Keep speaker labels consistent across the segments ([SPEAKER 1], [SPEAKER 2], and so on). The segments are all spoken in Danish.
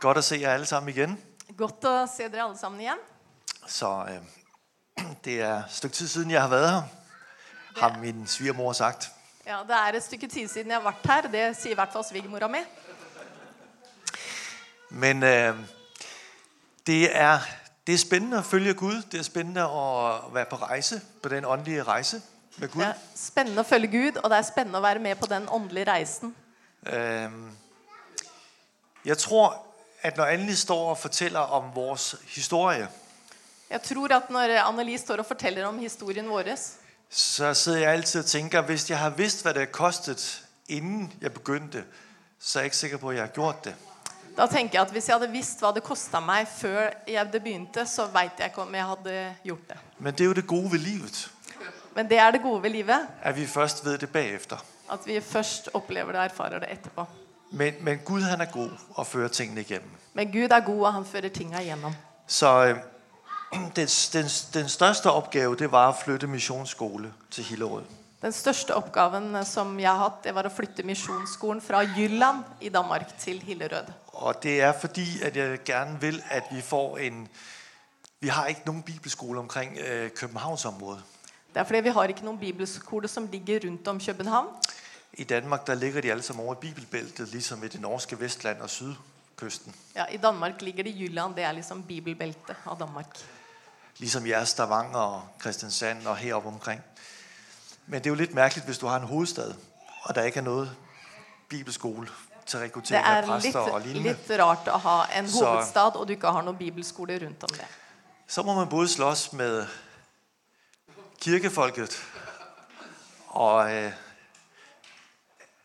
[SPEAKER 1] Godt at se jer alle sammen igen.
[SPEAKER 2] Godt å se dere alle sammen igjen.
[SPEAKER 1] Så øh, det er et stykke tid siden, jeg har været her, har min svigermor sagt.
[SPEAKER 2] Ja, Det er et stykke tid siden jeg har vært her. Det sier i hvert fall svigermora mi.
[SPEAKER 1] Men øh, det, er, det er spændende at følge Gud. Det er spændende at være på rejse, på den åndelige rejse med Gud.
[SPEAKER 2] Det er spennende å følge Gud, og det er spennende å være med på den åndelige reisen.
[SPEAKER 1] Øhm, Jeg tror, at når Anneli står og fortæller om vores historie,
[SPEAKER 2] Jeg tror at når Anneli står og forteller om historien vår,
[SPEAKER 1] så sidder jeg altid og tænker, hvis jeg har vidst, hvad det har kostet, inden jeg begyndte, så er jeg ikke sikker på, at jeg har gjort det.
[SPEAKER 2] da tenker jeg at hvis jeg hadde visst hva det kosta meg før jeg det begynte, så veit jeg ikke om jeg hadde gjort det.
[SPEAKER 1] Men det er jo det gode ved livet,
[SPEAKER 2] Men det er det gode ved livet.
[SPEAKER 1] at vi først ved det bagefter.
[SPEAKER 2] At vi først opplever det og erfarer det etterpå.
[SPEAKER 1] Men, men Gud han er god og fører tingene igennem.
[SPEAKER 2] Men Gud er god, og han fører tinga igjennom.
[SPEAKER 1] Så øh, den, den, den største opgave, det var at flytte missionsskole til Hillerød.
[SPEAKER 2] Den største oppgaven som jeg har hatt, det var å flytte misjonsskolen fra Jylland i Danmark til Hillerød.
[SPEAKER 1] Og det er fordi, at jeg gerne vil, at vi får en... Vi har ikke nogen bibelskole omkring øh, Københavnsområdet.
[SPEAKER 2] Det er fordi vi har ikke noen bibelskole som ligger rundt om København.
[SPEAKER 1] I Danmark, der ligger de alle sammen over i bibelbæltet, ligesom i det norske Vestland og Sydkysten.
[SPEAKER 2] Ja, I Danmark ligger det Jylland, det er liksom bibelbeltet av Danmark.
[SPEAKER 1] Ligesom jeres Stavanger og Christiansand og heroppe omkring. Men det er jo lidt mærkeligt, hvis du har en hovedstad, og der ikke er noget bibelskole til
[SPEAKER 2] Det
[SPEAKER 1] rekruttering af
[SPEAKER 2] er
[SPEAKER 1] præster og
[SPEAKER 2] litt,
[SPEAKER 1] lignende.
[SPEAKER 2] litt rart å ha en
[SPEAKER 1] Så-
[SPEAKER 2] hovedstad, og du ikke har noen bibelskole rundt om det.
[SPEAKER 1] Så må man både slås med kirkefolket og øh,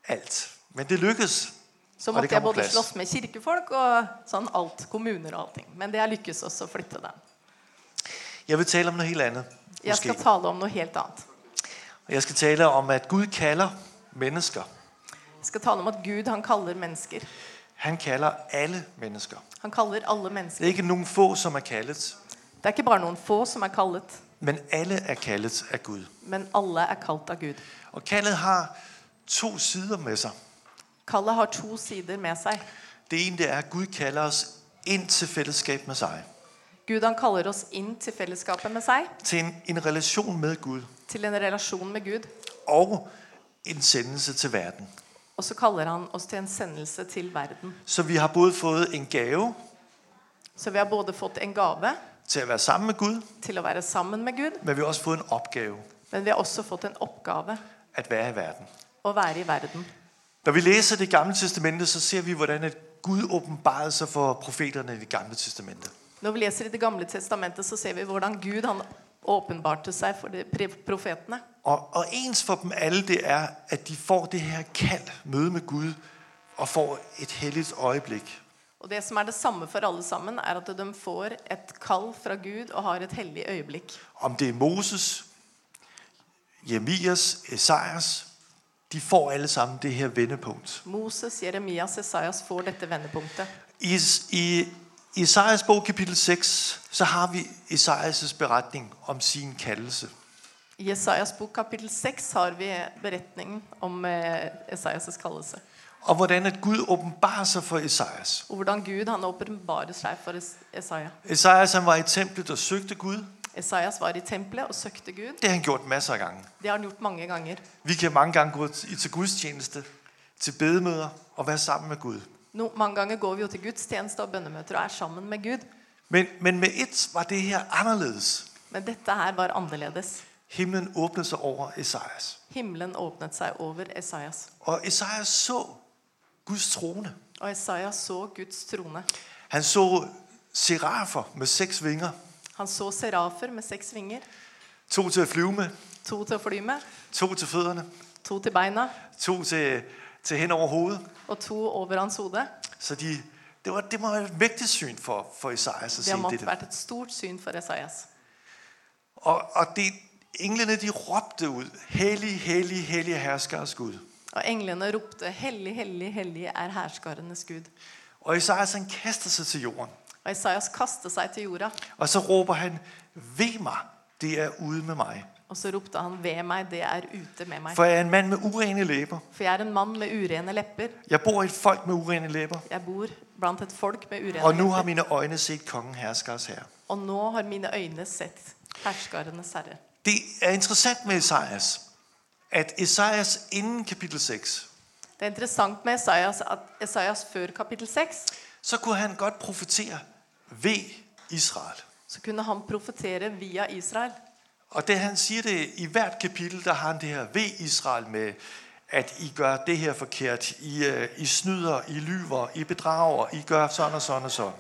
[SPEAKER 1] alt. Men det lykkes.
[SPEAKER 2] Så
[SPEAKER 1] Og det
[SPEAKER 2] måtte jeg
[SPEAKER 1] kommer
[SPEAKER 2] både
[SPEAKER 1] plass.
[SPEAKER 2] slåss med kirkefolk og sånn alt, kommuner og allting. Men det har lykkes også å flytte den.
[SPEAKER 1] Jeg vil tale om noget helt andet.
[SPEAKER 2] Jeg skal
[SPEAKER 1] Måske.
[SPEAKER 2] tale om noe helt annet.
[SPEAKER 1] Og Jeg skal tale om, at Gud kalder mennesker.
[SPEAKER 2] Jeg skal tale om at Gud, han kaller mennesker.
[SPEAKER 1] Han kalder alle mennesker.
[SPEAKER 2] Han kaller alle
[SPEAKER 1] Det er
[SPEAKER 2] mennesker.
[SPEAKER 1] ikke nogen få, som er kaldet,
[SPEAKER 2] Det er ikke bare noen få som er kallet,
[SPEAKER 1] men alle er kaldet af Gud.
[SPEAKER 2] men alle er kalt av Gud.
[SPEAKER 1] Og kaldet har to sider med sig.
[SPEAKER 2] Kallet har to sider med seg.
[SPEAKER 1] Det ene det er, at Gud kalder os ind til fællesskab med sig.
[SPEAKER 2] Gud han kaller oss inn til fellesskapet med seg,
[SPEAKER 1] Til en, en relation med Gud.
[SPEAKER 2] til en relasjon med Gud.
[SPEAKER 1] og en sendelse til verden.
[SPEAKER 2] Og så kaller han oss til en sendelse til verden.
[SPEAKER 1] Så vi har både fået en gave
[SPEAKER 2] Så vi har både fått en gave
[SPEAKER 1] til at være sammen med Gud,
[SPEAKER 2] til å være sammen med Gud,
[SPEAKER 1] men vi har også fået en opgave
[SPEAKER 2] men vi har også fått en oppgave
[SPEAKER 1] at være i verden.
[SPEAKER 2] å være i verden.
[SPEAKER 1] Når vi læser det gamle testamente, så ser vi, hvordan at Gud åbenbarede sig for profeterne i det gamle testamente.
[SPEAKER 2] Når vi leser i Det gamle testamentet, så ser vi hvordan Gud han åpenbarte seg for de pre- profetene.
[SPEAKER 1] Og, og ens for dem alle, det er, at de får det her kald, møde med Gud, og får et helligt øjeblik.
[SPEAKER 2] Og Det som er det samme for alle sammen, er at de får et kall fra Gud og har et hellig øyeblikk.
[SPEAKER 1] Om det er Moses, Jemias, Esajas, de får alle sammen det her vendepunkt.
[SPEAKER 2] Moses, Jeremias, Esaias får dette vendepunktet.
[SPEAKER 1] I, i Esajas bog kapitel 6, så har vi Esajas' beretning om sin kaldelse.
[SPEAKER 2] I Esaias bok kapittel 6 har vi beretningen om eh, Esaias' kallelse.
[SPEAKER 1] Og hvordan at Gud åbenbarer sig for Esajas.
[SPEAKER 2] Og hvordan Gud han åpenbarer seg for Es- Esaias.
[SPEAKER 1] Esajas han var i templet og søgte Gud.
[SPEAKER 2] Esaias var i tempelet og søkte Gud.
[SPEAKER 1] Det har han gjort masser af gange.
[SPEAKER 2] Det har han gjort mange ganger.
[SPEAKER 1] Vi kan mange gange gå til til gudstjeneste, til bedemøder og være sammen med Gud.
[SPEAKER 2] No, mange ganger går vi jo til gudstjeneste og bønnemøter og er sammen med Gud.
[SPEAKER 1] Men, men med et var det her anderledes.
[SPEAKER 2] Men dette her var annerledes.
[SPEAKER 1] Himlen åbnede sig over Esajas.
[SPEAKER 2] Himmelen åpnet seg over Esaias.
[SPEAKER 1] Og Esajas så Guds trone.
[SPEAKER 2] Og Esaias så Guds trone.
[SPEAKER 1] Han så serafer med seks vinger.
[SPEAKER 2] Han så serafer med seks vinger.
[SPEAKER 1] To til at flyve med,
[SPEAKER 2] To til å fly med,
[SPEAKER 1] to til fødderne,
[SPEAKER 2] to til beina
[SPEAKER 1] to til, til hen over hovedet.
[SPEAKER 2] og to over hans hode.
[SPEAKER 1] Så de, det, var, det må være et mægtigt syn for, for Isaias at se
[SPEAKER 2] Det har måttet
[SPEAKER 1] det.
[SPEAKER 2] vært et stort syn for Esaias.
[SPEAKER 1] Og, og det, englene de råbte ud, hellig, hellig, hellig herskers Gud.
[SPEAKER 2] Og englene ropte, hellig, hellig, hellig er herskarenes Gud.
[SPEAKER 1] Og Isaias han kaster sig til jorden,
[SPEAKER 2] Og Esaias kastet seg til jorda,
[SPEAKER 1] og så råber han, ved mig, det er ude med mig.
[SPEAKER 2] Og så ropte han ved meg, det er ute med meg.
[SPEAKER 1] For jeg er en mand med urene læber.
[SPEAKER 2] For jeg er en mann med urene lepper.
[SPEAKER 1] Jeg bor i et folk med urene læber.
[SPEAKER 2] Jeg bor blant et folk med urene
[SPEAKER 1] Og nu har
[SPEAKER 2] lepper.
[SPEAKER 1] mine øjne set kongen herskers herre.
[SPEAKER 2] Og nå har mine øyne sett herskarenes herre.
[SPEAKER 1] Det er interessant med Esajas, at Esajas inden kapitel 6,
[SPEAKER 2] Det er interessant med Esaias at Esaias før kapittel 6
[SPEAKER 1] så kunne han godt profetere ved Israel.
[SPEAKER 2] så kunne han profetere via Israel.
[SPEAKER 1] Og det han siger det i hvert kapitel, der har han det her ved Israel med, at I gør det her forkert, I, øh, I snyder, I lyver, I bedrager, I gør sådan og sådan og sådan.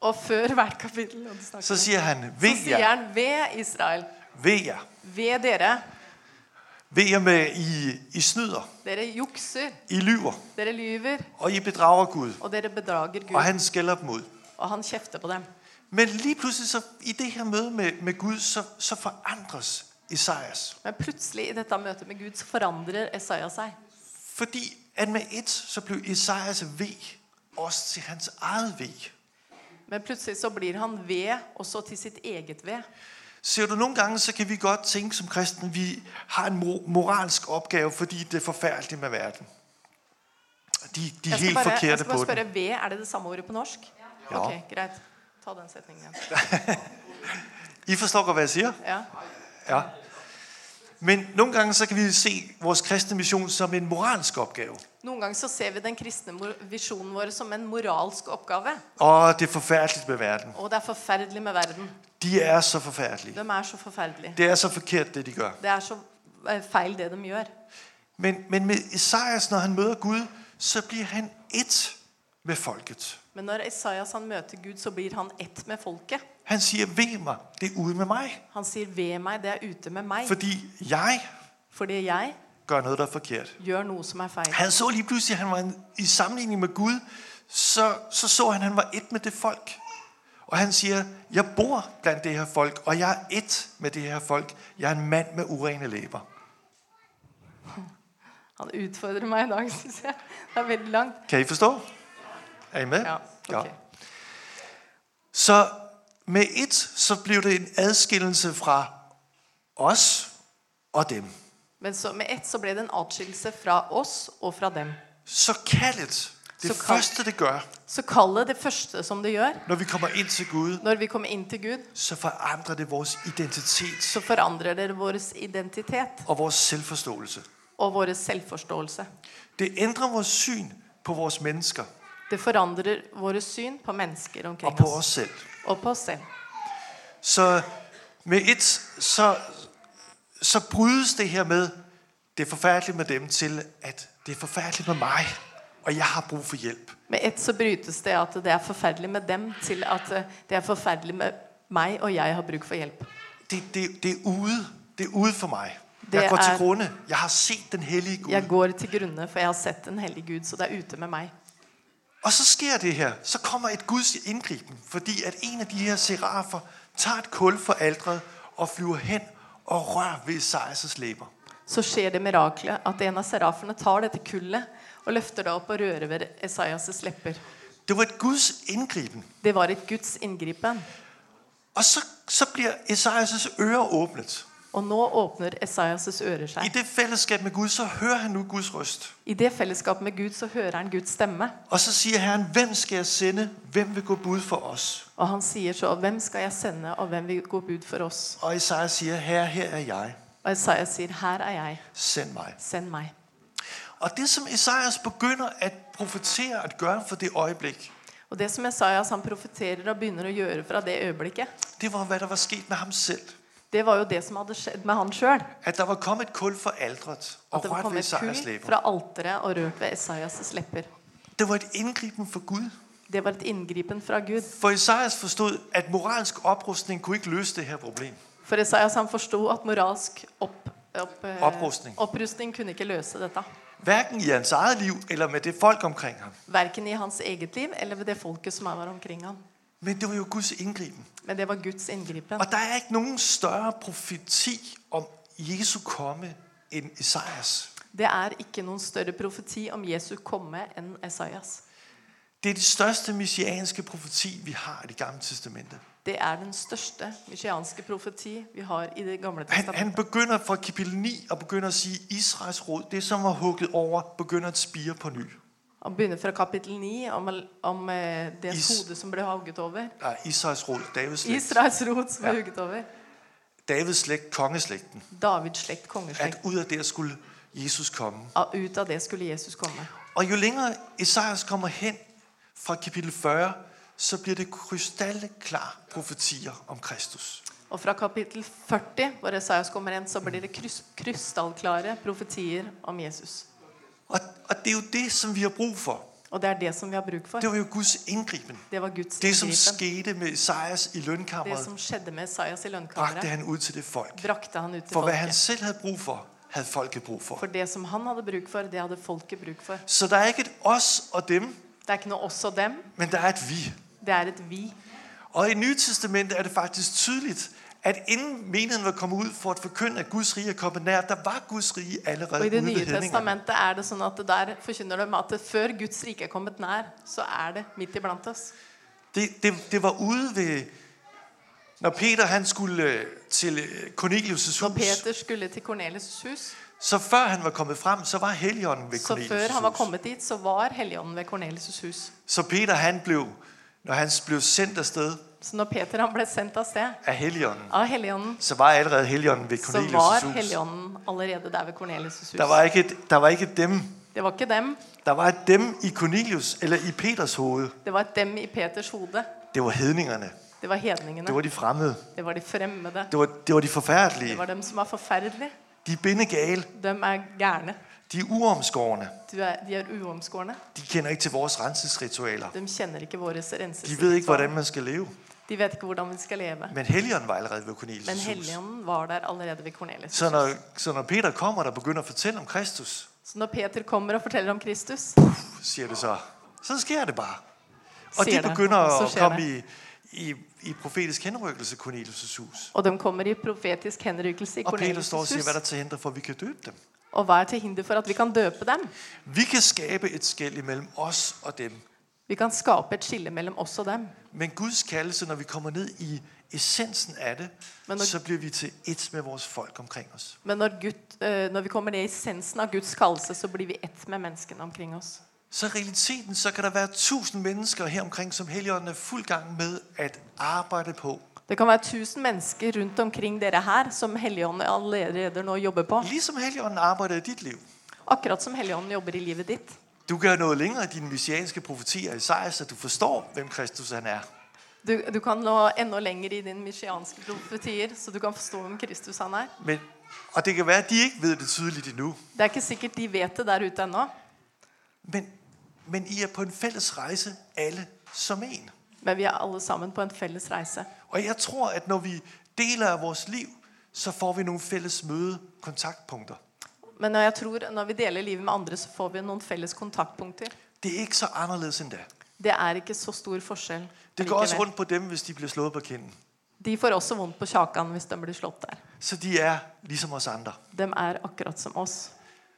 [SPEAKER 2] Og før hvert kapittel og det snakker
[SPEAKER 1] Så
[SPEAKER 2] om.
[SPEAKER 1] siger han,
[SPEAKER 2] så
[SPEAKER 1] ved
[SPEAKER 2] sier
[SPEAKER 1] jer,
[SPEAKER 2] han ved Israel,
[SPEAKER 1] ved jer,
[SPEAKER 2] ved dere,
[SPEAKER 1] ved jer med, I, I snyder,
[SPEAKER 2] dere jukser,
[SPEAKER 1] I lyver,
[SPEAKER 2] dere lyver,
[SPEAKER 1] og I bedrager Gud.
[SPEAKER 2] og dere bedrager Gud.
[SPEAKER 1] Og han skælder dem ud.
[SPEAKER 2] Og han kjefter på dem.
[SPEAKER 1] Men lige pludselig så, i det her møde med, med Gud, så, så forandres Esajas.
[SPEAKER 2] Men plutselig i dette møtet med Gud så forandrer Esaia seg.
[SPEAKER 1] Fordi at med et, så blev Esajas ved, også til hans eget ved.
[SPEAKER 2] Men plutselig så blir han ved, også til sitt eget ved.
[SPEAKER 1] Ser du, nogle gange, så kan vi godt tænke som kristne, vi har en mo- moralsk opgave, fordi det er forfærdeligt med verden. De, de er
[SPEAKER 2] Jeg skal
[SPEAKER 1] helt
[SPEAKER 2] bare, jeg
[SPEAKER 1] forkerte
[SPEAKER 2] skal bare
[SPEAKER 1] på
[SPEAKER 2] spørre,
[SPEAKER 1] den.
[SPEAKER 2] ved, er det det samme ordet på norsk?
[SPEAKER 1] Ja.
[SPEAKER 2] Ok, greit. Ta den setningen igjen.
[SPEAKER 1] I forstår godt, hvad jeg siger?
[SPEAKER 2] Ja.
[SPEAKER 1] Ja. Men nogle gange, så kan vi se vores kristne mission som en moralsk opgave.
[SPEAKER 2] Noen ganger så ser vi den kristne mor- visjonen vår som en moralsk oppgave.
[SPEAKER 1] Og det er forfærdeligt med verden.
[SPEAKER 2] Og det er forferdelig med verden.
[SPEAKER 1] De er så forfærdelige.
[SPEAKER 2] De er så forferdelige.
[SPEAKER 1] Det er så forkert, det de gør.
[SPEAKER 2] Det er så eh, feil det de gjør.
[SPEAKER 1] Men, men med Esajas, når han møder Gud, så bliver han et med folket.
[SPEAKER 2] Men når Esaias han møter Gud, så blir han ett med folket.
[SPEAKER 1] Han siger, ved mig, det er ude med mig,
[SPEAKER 2] Han sier, ved meg, det er ute med meg.
[SPEAKER 1] fordi jeg
[SPEAKER 2] Fordi jeg
[SPEAKER 1] gør noget, der er forkert.
[SPEAKER 2] gjør noe som er feil.
[SPEAKER 1] Han så lige pludselig, at han var en, i sammenligning med Gud, så, så så han, at han var et med det folk. Og han siger, jeg bor blandt det her folk, og jeg er et med det her folk. Jeg er en mand med urene læber.
[SPEAKER 2] Han utfordrer meg i dag, synes jeg. Det er veldig langt.
[SPEAKER 1] Kan I forstå? Er I med?
[SPEAKER 2] Ja, ok.
[SPEAKER 1] Så med et, så blev det en adskillelse fra os og dem.
[SPEAKER 2] Men så, med ett så ble det en atskillelse fra oss og fra dem.
[SPEAKER 1] Så kaldet, det så
[SPEAKER 2] Så kald-
[SPEAKER 1] første det gør,
[SPEAKER 2] Så kallet det første som det gjør,
[SPEAKER 1] når vi kommer ind til Gud,
[SPEAKER 2] når vi kommer inn til Gud,
[SPEAKER 1] så forandrer det vores identitet
[SPEAKER 2] så forandrer det vår identitet
[SPEAKER 1] og vores selvforståelse.
[SPEAKER 2] og vår selvforståelse.
[SPEAKER 1] Det ændrer vores syn på vores mennesker
[SPEAKER 2] Det forandrer våre syn på mennesker
[SPEAKER 1] og
[SPEAKER 2] omkring
[SPEAKER 1] på os
[SPEAKER 2] oss
[SPEAKER 1] selv.
[SPEAKER 2] og på oss selv.
[SPEAKER 1] Så med et, så, så brydes det her med, det er forfærdeligt med dem, til at det er forfærdeligt med mig, og jeg har brug for hjælp.
[SPEAKER 2] Med ett så brytes det at det er forferdelig med dem, til at eh, det er forferdelig med meg, og jeg har bruk for hjelp.
[SPEAKER 1] det, det, det er ude. Det er ude for mig.
[SPEAKER 2] Det
[SPEAKER 1] Det jeg går til
[SPEAKER 2] er-
[SPEAKER 1] grunde. Jeg har set den hellige Gud.
[SPEAKER 2] Jeg
[SPEAKER 1] Jeg...
[SPEAKER 2] går til grunne, for jeg har sett en hellig Gud, så det er ute med meg.
[SPEAKER 1] Og så sker det her. Så kommer et Guds indgriben, fordi at en af de her serafer tager et kul for aldret og flyver hen og rører ved Esajas læber.
[SPEAKER 2] så skjer det miraklet at en av serafene tar dette kullet og løfter det opp og rører ved Esaias' lepper.
[SPEAKER 1] Det var et Guds indgripen.
[SPEAKER 2] Det var et Guds inngripen.
[SPEAKER 1] Og så, så bliver Esajas ører åbnet.
[SPEAKER 2] Og nå åpner Esaias' ører
[SPEAKER 1] I
[SPEAKER 2] seg.
[SPEAKER 1] det fællesskab med Gud, så hører han nu Guds røst.
[SPEAKER 2] I det fellesskapet med Gud så hører han Guds stemme.
[SPEAKER 1] Og så siger Herren, hvem skal jeg sende? Hvem vil gå bud for os?
[SPEAKER 2] Og han sier så, hvem skal jeg sende, og hvem vil gå bud for oss?
[SPEAKER 1] Og Esajas siger, herre, her er jeg.
[SPEAKER 2] Og Esaias sier, her er jeg,
[SPEAKER 1] Send mig.
[SPEAKER 2] send meg.
[SPEAKER 1] Og det, som Esajas begynder at profetere at gøre for det øjeblik,
[SPEAKER 2] Og det som Esaias han profeterer og begynner å gjøre fra det øyeblikket,
[SPEAKER 1] det var, hvad der var sket med ham selv.
[SPEAKER 2] det var jo det som hadde skjedd med han sjøl.
[SPEAKER 1] At der var kommet et kul for aldret
[SPEAKER 2] At
[SPEAKER 1] og
[SPEAKER 2] det
[SPEAKER 1] rørt
[SPEAKER 2] kom
[SPEAKER 1] ved
[SPEAKER 2] et
[SPEAKER 1] Esajas
[SPEAKER 2] kull
[SPEAKER 1] læber.
[SPEAKER 2] fra alteret og rørt ved Esaias' lepper.
[SPEAKER 1] Det var et indgriben for Gud.
[SPEAKER 2] Det var et inngripen fra Gud.
[SPEAKER 1] For Esajas forstod, at moralsk oprustning kunne ikke løse det her problem.
[SPEAKER 2] For Esaias han forstod at moralsk opp, opp, eh,
[SPEAKER 1] Opprustning.
[SPEAKER 2] opprustning kunne ikke løse dette.
[SPEAKER 1] Hverken i hans eget liv eller med det folk omkring ham.
[SPEAKER 2] Hverken i hans eget liv eller ved det folket som var omkring ham.
[SPEAKER 1] Men det var jo Guds indgriben.
[SPEAKER 2] Men det var Guds inngripen.
[SPEAKER 1] Og der er ikke nogen større profeti om Jesu komme end Esajas.
[SPEAKER 2] Det er ikke noen større profeti om Jesu komme enn Esaias.
[SPEAKER 1] Det er det største messianske profeti, vi har i det gamle testamente.
[SPEAKER 2] Det er den største messianske profeti vi har i det gamle
[SPEAKER 1] Han, han
[SPEAKER 2] testamentet.
[SPEAKER 1] begynder fra kapitel 9 og begynder at sige, Israels rod, det som var hugget over, begynder at spire på ny.
[SPEAKER 2] Han begynner fra kapittel 9 om, om eh, det
[SPEAKER 1] Is-
[SPEAKER 2] hode som ble hugget over.
[SPEAKER 1] Nej, Israels rod, Davids slægt.
[SPEAKER 2] Israels rot som ble
[SPEAKER 1] Ja.
[SPEAKER 2] hugget over.
[SPEAKER 1] Davids slægt, kongeslægten.
[SPEAKER 2] Davids slekt,
[SPEAKER 1] At
[SPEAKER 2] kongeslekt.
[SPEAKER 1] ud af der skulle Jesus komme.
[SPEAKER 2] Og Ut av det skulle Jesus komme.
[SPEAKER 1] Og jo længere Esajas kommer hen fra kapitel 40, så bliver det krystalklar profetier om Kristus.
[SPEAKER 2] Og fra kapittel 40, hvor Esaias kommer inn, så blir det krys krystallklare profetier om Jesus.
[SPEAKER 1] Og, og det er jo det, som vi har brug for.
[SPEAKER 2] Og det er det som vi har bruk for.
[SPEAKER 1] Det var jo Guds indgriben.
[SPEAKER 2] Det var Guds
[SPEAKER 1] Det, som
[SPEAKER 2] inngripen.
[SPEAKER 1] skete med Esajas i
[SPEAKER 2] Det
[SPEAKER 1] lønkammeret,
[SPEAKER 2] som skjedde med Esaias i lønnkammeret,
[SPEAKER 1] bragte han ud til det folk.
[SPEAKER 2] brakte han ut til
[SPEAKER 1] For hvad han
[SPEAKER 2] folket.
[SPEAKER 1] selv havde brug for, havde folket brug for.
[SPEAKER 2] For det som han hadde bruk for, det hadde folket bruk for.
[SPEAKER 1] Så der er ikke et os og dem,
[SPEAKER 2] Det er ikke noe oss og dem,
[SPEAKER 1] men der er et vi.
[SPEAKER 2] det er et vi.
[SPEAKER 1] Og i Nye Testamente er det faktisk tydeligt, at inden menigheden var kommet ud for at forkynde, at Guds rige er kommet nær, der var Guds rige allerede
[SPEAKER 2] Og i
[SPEAKER 1] ude
[SPEAKER 2] Det
[SPEAKER 1] ved
[SPEAKER 2] nye
[SPEAKER 1] hedningerne.
[SPEAKER 2] testamentet er det sånn at det der forkynner de at det før Guds rike er kommet nær, så er det midt iblant oss.
[SPEAKER 1] Det, det, det var ude ved, når Peter han skulle øh, til øh, Cornelius'
[SPEAKER 2] Når
[SPEAKER 1] hus,
[SPEAKER 2] Peter skulle til Kornelius' hus,
[SPEAKER 1] så før han var kommet frem, så var Helligånden ved
[SPEAKER 2] så før han
[SPEAKER 1] Cornelius'
[SPEAKER 2] var
[SPEAKER 1] hus.
[SPEAKER 2] kommet dit, så var Helligånden ved Kornelius' hus.
[SPEAKER 1] Så Peter han blev, når han blev sendt afsted
[SPEAKER 2] Så når Peter han ble sendt av sted
[SPEAKER 1] af Helligånden,
[SPEAKER 2] av Helligånden,
[SPEAKER 1] så var allerede Helligånden ved
[SPEAKER 2] så
[SPEAKER 1] Cornelius'
[SPEAKER 2] var
[SPEAKER 1] hus.
[SPEAKER 2] Helligånden allerede der ved Kornelius'
[SPEAKER 1] Der var
[SPEAKER 2] hus.
[SPEAKER 1] ikke et, der var ikke et dem.
[SPEAKER 2] Det var ikke dem,
[SPEAKER 1] Der var et dem i Cornelius, eller i Peters hoved.
[SPEAKER 2] det var et dem i Peters hode.
[SPEAKER 1] Det var hedningerne.
[SPEAKER 2] Det var
[SPEAKER 1] Det
[SPEAKER 2] hedningene.
[SPEAKER 1] var de fremmede.
[SPEAKER 2] Det var de fremmede.
[SPEAKER 1] Det var, det var de
[SPEAKER 2] Det
[SPEAKER 1] forfærdelige.
[SPEAKER 2] var dem som var forferdelige.
[SPEAKER 1] De er bindegale.
[SPEAKER 2] De er gærne.
[SPEAKER 1] De er uomskårne.
[SPEAKER 2] Du er, de er uomskårne.
[SPEAKER 1] De kender ikke til vores renselsesritualer.
[SPEAKER 2] De kjenner ikke våre renses.
[SPEAKER 1] De ved ikke, hvordan man skal leve.
[SPEAKER 2] De vet ikke hvordan vi skal leve.
[SPEAKER 1] Men Helligånden var allerede ved Cornelius'
[SPEAKER 2] Men
[SPEAKER 1] hus.
[SPEAKER 2] Helligånden var der allerede ved Kornelius.
[SPEAKER 1] Så når, så når Peter kommer der og begynder at fortælle om Kristus,
[SPEAKER 2] Så når Peter kommer og forteller om Kristus,
[SPEAKER 1] siger det så, så sker det bare. Og
[SPEAKER 2] Siger
[SPEAKER 1] de
[SPEAKER 2] det,
[SPEAKER 1] begynder
[SPEAKER 2] og så
[SPEAKER 1] at
[SPEAKER 2] sker
[SPEAKER 1] komme i, i, i profetisk henrykkelse Cornelius' hus.
[SPEAKER 2] og de kommer i profetisk henrykkelse i
[SPEAKER 1] Og Peter står og
[SPEAKER 2] Kornelius'
[SPEAKER 1] siger, hvad er der
[SPEAKER 2] hus,
[SPEAKER 1] til hinder for, at vi kan døbe dem?
[SPEAKER 2] og hva er til hinder for at vi kan døpe dem?
[SPEAKER 1] Vi kan skabe et skæld imellem os og dem.
[SPEAKER 2] Vi kan skape et skille mellom oss og dem.
[SPEAKER 1] Men Guds kaldelse, når vi kommer ned i essensen af det,
[SPEAKER 2] Men når-
[SPEAKER 1] så bliver vi til et med vores folk omkring os.
[SPEAKER 2] Men når, Gud, eh, når vi kommer ned i essensen av Guds kallelse, så blir vi ett med menneskene omkring oss.
[SPEAKER 1] Så i realiteten, så kan der være tusind mennesker her omkring, som Helligånden er fuld gang med at arbejde på.
[SPEAKER 2] Det kan være tusen mennesker rundt omkring dere her som Helligånden allerede nå jobber på.
[SPEAKER 1] Ligesom Helligånden arbejder i dit liv.
[SPEAKER 2] Akkurat som Helligånden jobber i livet ditt.
[SPEAKER 1] Du kan nå længere i dine messianske profetier i sejr, så du forstår, hvem Kristus han er.
[SPEAKER 2] Du, du kan nå enda lenger i dine messianske profetier, så du kan forstå hvem Kristus han er.
[SPEAKER 1] Men, og det kan være, at de ikke ved det tydeligt endnu,
[SPEAKER 2] Det er ikke sikkert de vet det der ute ennå,
[SPEAKER 1] men, men I er på en fælles rejse, alle som en.
[SPEAKER 2] men vi er alle sammen på en felles reise.
[SPEAKER 1] Og jeg tror, at når vi deler af vores liv, så får vi nogle fælles møde kontaktpunkter.
[SPEAKER 2] Men når jeg tror når vi deler livet med andre, så får vi noen felles kontaktpunkter.
[SPEAKER 1] Det er ikke så anderledes end da.
[SPEAKER 2] Det er ikke så stor forskjell.
[SPEAKER 1] Det går også
[SPEAKER 2] allikevel.
[SPEAKER 1] rundt på dem, hvis de bliver slået på kinden.
[SPEAKER 2] De får også vondt på kjakan hvis de blir slått der.
[SPEAKER 1] Så de er ligesom os andre.
[SPEAKER 2] De er akkurat som oss.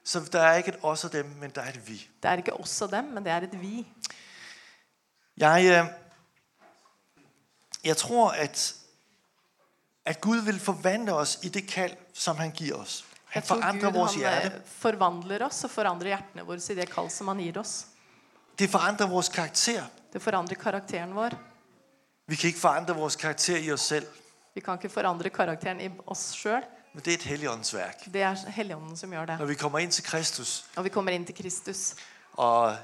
[SPEAKER 1] Så der er ikke et os og dem, men der er et vi.
[SPEAKER 2] Det er ikke oss og dem, men det er et vi.
[SPEAKER 1] Jeg, øh, jeg tror, at, at Gud vil forvandle os i det kald, som han giver os. Han
[SPEAKER 2] Jeg tror
[SPEAKER 1] forandrer
[SPEAKER 2] Gud
[SPEAKER 1] vores
[SPEAKER 2] han eh,
[SPEAKER 1] hjerte.
[SPEAKER 2] forvandler oss og forandrer hjertene våre i det kall som han gir oss.
[SPEAKER 1] Det forandrer vores karakter.
[SPEAKER 2] Det forandrer karakteren vår.
[SPEAKER 1] Vi kan ikke forandre vores karakter i os selv,
[SPEAKER 2] Vi kan ikke forandre karakteren i oss sjøl.
[SPEAKER 1] men det er et helligåndsværk.
[SPEAKER 2] Det er Helligånden som gjør det.
[SPEAKER 1] Når vi kommer ind til Kristus,
[SPEAKER 2] Når vi kommer inn til Kristus,
[SPEAKER 1] og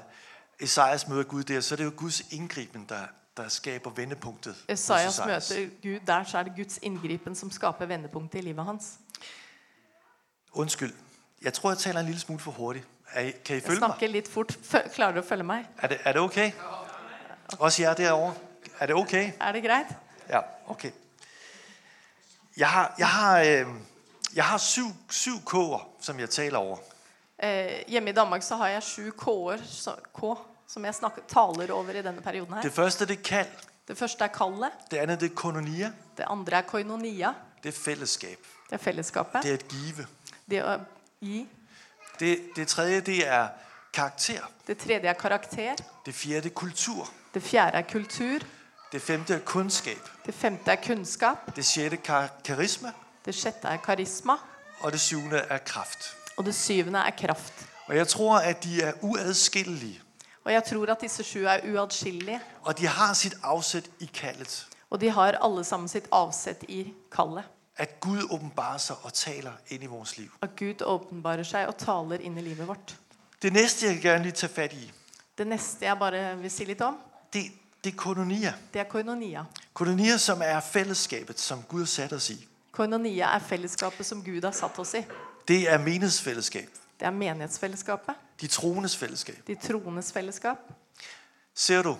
[SPEAKER 1] Esajas møder Gud der, så er det jo Guds indgriben, der, der skaber vendepunktet. hos
[SPEAKER 2] Esaias møter Gud der, så er det Guds inngripen som skaper vendepunktet i livet hans.
[SPEAKER 1] Undskyld. Jeg tror, jeg taler en lille smule for hurtigt. Er I, kan I
[SPEAKER 2] Jeg
[SPEAKER 1] følge mig?
[SPEAKER 2] snakker litt fort. Fø- Klarer du å følge meg?
[SPEAKER 1] Er det, er det okay? Også jer derovre. Er det okay?
[SPEAKER 2] Er det greit?
[SPEAKER 1] Ja, okay. Jeg har, jeg har, øh, jeg har syv, syv K'er, som jeg taler over.
[SPEAKER 2] Eh, hjemme i Danmark så har jeg sju K-er så- K, som jeg snakker, taler over i denne perioden her.
[SPEAKER 1] Det første det er kald,
[SPEAKER 2] Det første er kallet.
[SPEAKER 1] det andet det er kononia,
[SPEAKER 2] Det andre er koinonia.
[SPEAKER 1] det er fællesskab,
[SPEAKER 2] Det er fellesskapet.
[SPEAKER 1] det er at give.
[SPEAKER 2] Det å gi.
[SPEAKER 1] Det, det tredje det er karakter.
[SPEAKER 2] Det tredje er karakter.
[SPEAKER 1] Det fjerde er kultur.
[SPEAKER 2] Det fjerde er kultur.
[SPEAKER 1] Det femte er kundskab.
[SPEAKER 2] Det femte er kunnskap.
[SPEAKER 1] Det sjette er kar- karisma.
[SPEAKER 2] Det sjette er karisma.
[SPEAKER 1] Og det syvende er kraft.
[SPEAKER 2] Og det syvende er kraft.
[SPEAKER 1] Og jeg tror, at de er uadskillelige.
[SPEAKER 2] Og jeg tror at disse sju er uatskillelige.
[SPEAKER 1] Og de har sit afsæt i kaldet.
[SPEAKER 2] Og de har alle sammen sitt avsett i kallet.
[SPEAKER 1] At Gud åbenbarer sig og taler ind i vores liv.
[SPEAKER 2] At Gud åpenbarer seg og taler inn i livet vårt.
[SPEAKER 1] Det næste, jeg gerne lige tage fat i,
[SPEAKER 2] Det neste jeg bare vil si litt om,
[SPEAKER 1] det, det er koinonia.
[SPEAKER 2] det er koinonia.
[SPEAKER 1] Koinonia, som er fællesskabet, som Gud har sat os i.
[SPEAKER 2] Koinonia er fellesskapet som Gud har satt oss i.
[SPEAKER 1] Det er menighedsfællesskab.
[SPEAKER 2] Det er menighetsfellesskapet,
[SPEAKER 1] De troendes fællesskab.
[SPEAKER 2] de troendes fellesskap.
[SPEAKER 1] Ser du,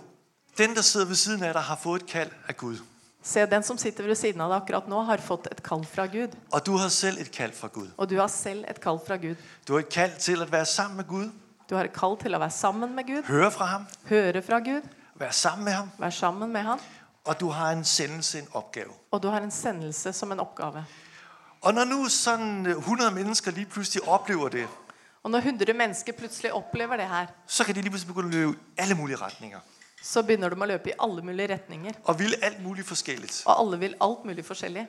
[SPEAKER 1] den, der sidder ved siden af dig, har fået et kald af Gud.
[SPEAKER 2] Se, den som sitter ved siden av deg akkurat nå, har fått et kall fra Gud.
[SPEAKER 1] Og du har selv et kald fra Gud.
[SPEAKER 2] Og du har selv et kall fra Gud.
[SPEAKER 1] Du har et kald til at være sammen med Gud,
[SPEAKER 2] Du har et kall til å være sammen med Gud,
[SPEAKER 1] høre fra ham,
[SPEAKER 2] høre fra Gud,
[SPEAKER 1] være sammen med ham,
[SPEAKER 2] være sammen med Han.
[SPEAKER 1] og du har en sendelse, en opgave.
[SPEAKER 2] Og du har en sendelse som en oppgave.
[SPEAKER 1] Og når nu sådan øh, 100 mennesker lige pludselig oplever det,
[SPEAKER 2] Og når 100 mennesker plutselig opplever det her,
[SPEAKER 1] så kan de lige pludselig begynde at løbe i alle mulige retninger.
[SPEAKER 2] så begynner de å løpe i alle mulige retninger.
[SPEAKER 1] Og ville alt muligt forskelligt.
[SPEAKER 2] Og alle vil alt mulig forskjellig.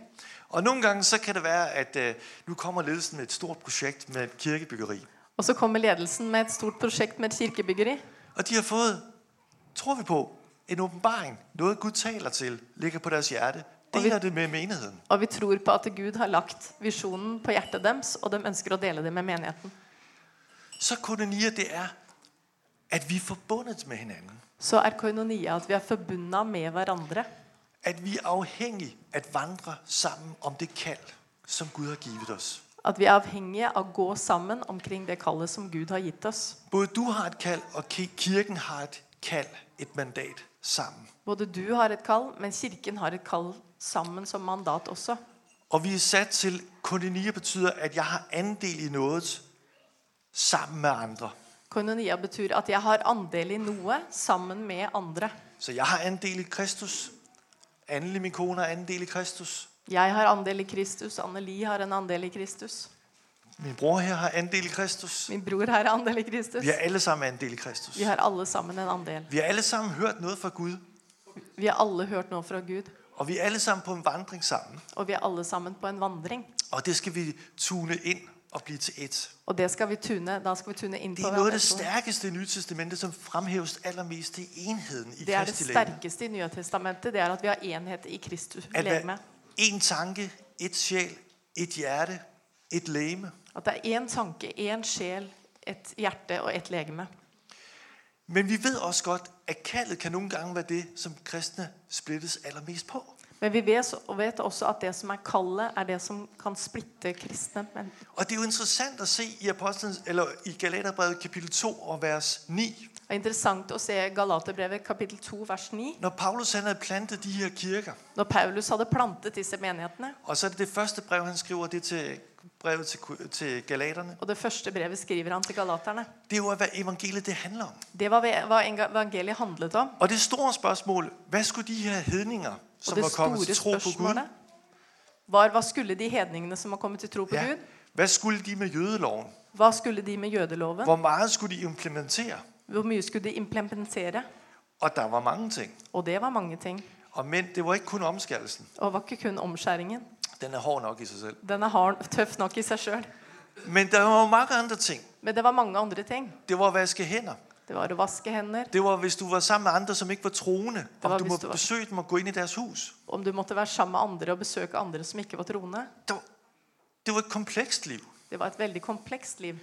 [SPEAKER 1] Og nogle gange så kan det være, at øh, nu kommer ledelsen med et stort projekt med kirkebyggeri.
[SPEAKER 2] Og så kommer ledelsen med et stort prosjekt med et kirkebyggeri.
[SPEAKER 1] Og de har fået, tror vi på, en åbenbaring. Noget Gud taler til, ligger på deres hjerte.
[SPEAKER 2] vi-
[SPEAKER 1] Deler det med menigheden.
[SPEAKER 2] Og vi tror på at Gud har lagt visjonen på hjertet deres, og de ønsker å dele det med menigheten.
[SPEAKER 1] Så koinonia, det er, at vi er forbundet med hinanden.
[SPEAKER 2] Så er koinonia at vi er forbundet med hverandre.
[SPEAKER 1] At vi er afhængige at vandre sammen om det kald, som Gud har givet os.
[SPEAKER 2] At vi er avhengige av å gå sammen omkring det kallet som Gud har gitt oss.
[SPEAKER 1] Både du har et kald, og ki- kirken har et kald, et mandat sammen.
[SPEAKER 2] Både du har et kall, men kirken har et kall sammen som mandat også.
[SPEAKER 1] Og vi er sat til, koinonia betyder, at jeg har andel i noget sammen med andre.
[SPEAKER 2] Koinonia betyr at jeg har andel i noe sammen med andre.
[SPEAKER 1] Så jeg har andel i Kristus. Anneli, min kone, har andel i Kristus.
[SPEAKER 2] Jeg har andel i Kristus, Anneli har en andel i Kristus.
[SPEAKER 1] Min bror her har andel i Kristus.
[SPEAKER 2] Min bror har andel i Kristus.
[SPEAKER 1] Vi har alle sammen andel i Kristus.
[SPEAKER 2] Vi har alle sammen en andel.
[SPEAKER 1] Vi har alle sammen hørt noget fra Gud,
[SPEAKER 2] Vi har alle hørt noe fra Gud,
[SPEAKER 1] og vi er alle sammen på en vandring sammen.
[SPEAKER 2] og vi er alle sammen på en vandring.
[SPEAKER 1] Og det skal vi tune ind og blive til et.
[SPEAKER 2] Og det skal vi tune, da skal vi tune inn
[SPEAKER 1] Det
[SPEAKER 2] på
[SPEAKER 1] er noget af det
[SPEAKER 2] hverandre.
[SPEAKER 1] stærkeste i Nye Testamente, som fremhæves allermest, det er enheden i
[SPEAKER 2] Det er det
[SPEAKER 1] Kristi læme.
[SPEAKER 2] sterkeste i Nye Testamentet, det er at vi har enhet i Kristus
[SPEAKER 1] At
[SPEAKER 2] legeme.
[SPEAKER 1] være én tanke, et sjæl, et hjerte, et læme.
[SPEAKER 2] At det er én tanke, én sjel, et hjerte og et legeme.
[SPEAKER 1] Men vi ved også godt, at kaldet kan nogle gange være det, som kristne splittes allermest på.
[SPEAKER 2] Men vi vet, og vet også at det som er kallet, er det som kan splitte kristne. Men,
[SPEAKER 1] Og det er jo interessant at se i apostlen, eller i Galaterbrevet kapitel 2 og vers 9,
[SPEAKER 2] det er interessant å se Galaterbrevet kapittel 2 vers 9.
[SPEAKER 1] når Paulus han havde plantet de her kirker,
[SPEAKER 2] Når Paulus hadde plantet disse menighetene,
[SPEAKER 1] og så er det det første brev, han skriver, det er til brevet til, til galaterne,
[SPEAKER 2] og det første brevet skriver han til galaterne.
[SPEAKER 1] det er jo, hvad evangeliet det handler om.
[SPEAKER 2] Det var ve- hva enga- evangeliet handlet om.
[SPEAKER 1] Og det store spørgsmål, hvad skulle de her hedninger,
[SPEAKER 2] Og
[SPEAKER 1] som
[SPEAKER 2] det
[SPEAKER 1] var kommet
[SPEAKER 2] store
[SPEAKER 1] til tro på Gud,
[SPEAKER 2] spørsmålet var hva skulle de hedningene som var kommet til tro på
[SPEAKER 1] ja,
[SPEAKER 2] Gud,
[SPEAKER 1] hvad skulle de med jødeloven?
[SPEAKER 2] hva skulle de med jødeloven?
[SPEAKER 1] Hvor meget skulle de implementere?
[SPEAKER 2] Hvor mye skulle de implementere?
[SPEAKER 1] Og der var mange ting.
[SPEAKER 2] Og det var mange ting.
[SPEAKER 1] Og men det var ikke kun omskærelsen.
[SPEAKER 2] Og det var ikke kun omskjæringen.
[SPEAKER 1] Den er hård nok i sig selv.
[SPEAKER 2] Den er hard, tøff nok i seg sjøl.
[SPEAKER 1] Men der var mange andre ting.
[SPEAKER 2] Men det var mange andre ting.
[SPEAKER 1] Det var at vaske hænder.
[SPEAKER 2] Det var å vaske hender,
[SPEAKER 1] Det var, hvis du var sammen med andre, som ikke var troende,
[SPEAKER 2] var,
[SPEAKER 1] om du
[SPEAKER 2] hvis
[SPEAKER 1] må
[SPEAKER 2] du var-
[SPEAKER 1] besøge dem og gå ind i deres hus.
[SPEAKER 2] om du måtte være sammen med andre og besøke andre som ikke var troende.
[SPEAKER 1] Det var, det var et komplekst liv.
[SPEAKER 2] Det var et veldig komplekst liv.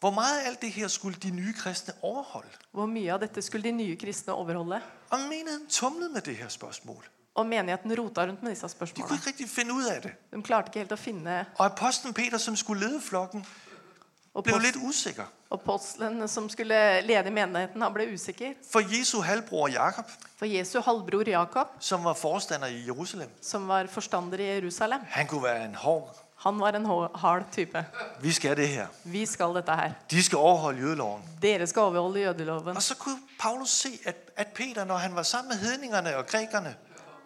[SPEAKER 1] Hvor meget af alt det her skulle de nye kristne overholde?
[SPEAKER 2] Hvor mye av dette skulle de nye kristne overholde?
[SPEAKER 1] Og menigheden tumlede med det her spørgsmål.
[SPEAKER 2] Og menigheten rota rundt med disse
[SPEAKER 1] De kunne
[SPEAKER 2] spørsmålene.
[SPEAKER 1] ikke rigtig finde ud af det.
[SPEAKER 2] De klarte ikke helt å finne
[SPEAKER 1] Og apostlen Peter, som skulle lede flokken,
[SPEAKER 2] Og,
[SPEAKER 1] blev
[SPEAKER 2] post,
[SPEAKER 1] lidt usikker.
[SPEAKER 2] og postelen som skulle lede menigheten, han ble usikker.
[SPEAKER 1] For Jesu halvbror Jakob,
[SPEAKER 2] For Jesu halvbror Jakob,
[SPEAKER 1] som var forstander i Jerusalem,
[SPEAKER 2] som var forstander i Jerusalem,
[SPEAKER 1] han kunne være en hård.
[SPEAKER 2] han var en hå- hard type.
[SPEAKER 1] Vi skal det her.
[SPEAKER 2] Vi skal dette her.
[SPEAKER 1] De skal overholde jødeloven.
[SPEAKER 2] Dere skal overholde jødeloven.
[SPEAKER 1] Og så kunne Paulus se, at, at Peter, når han var sammen med hedningerne og grækerne,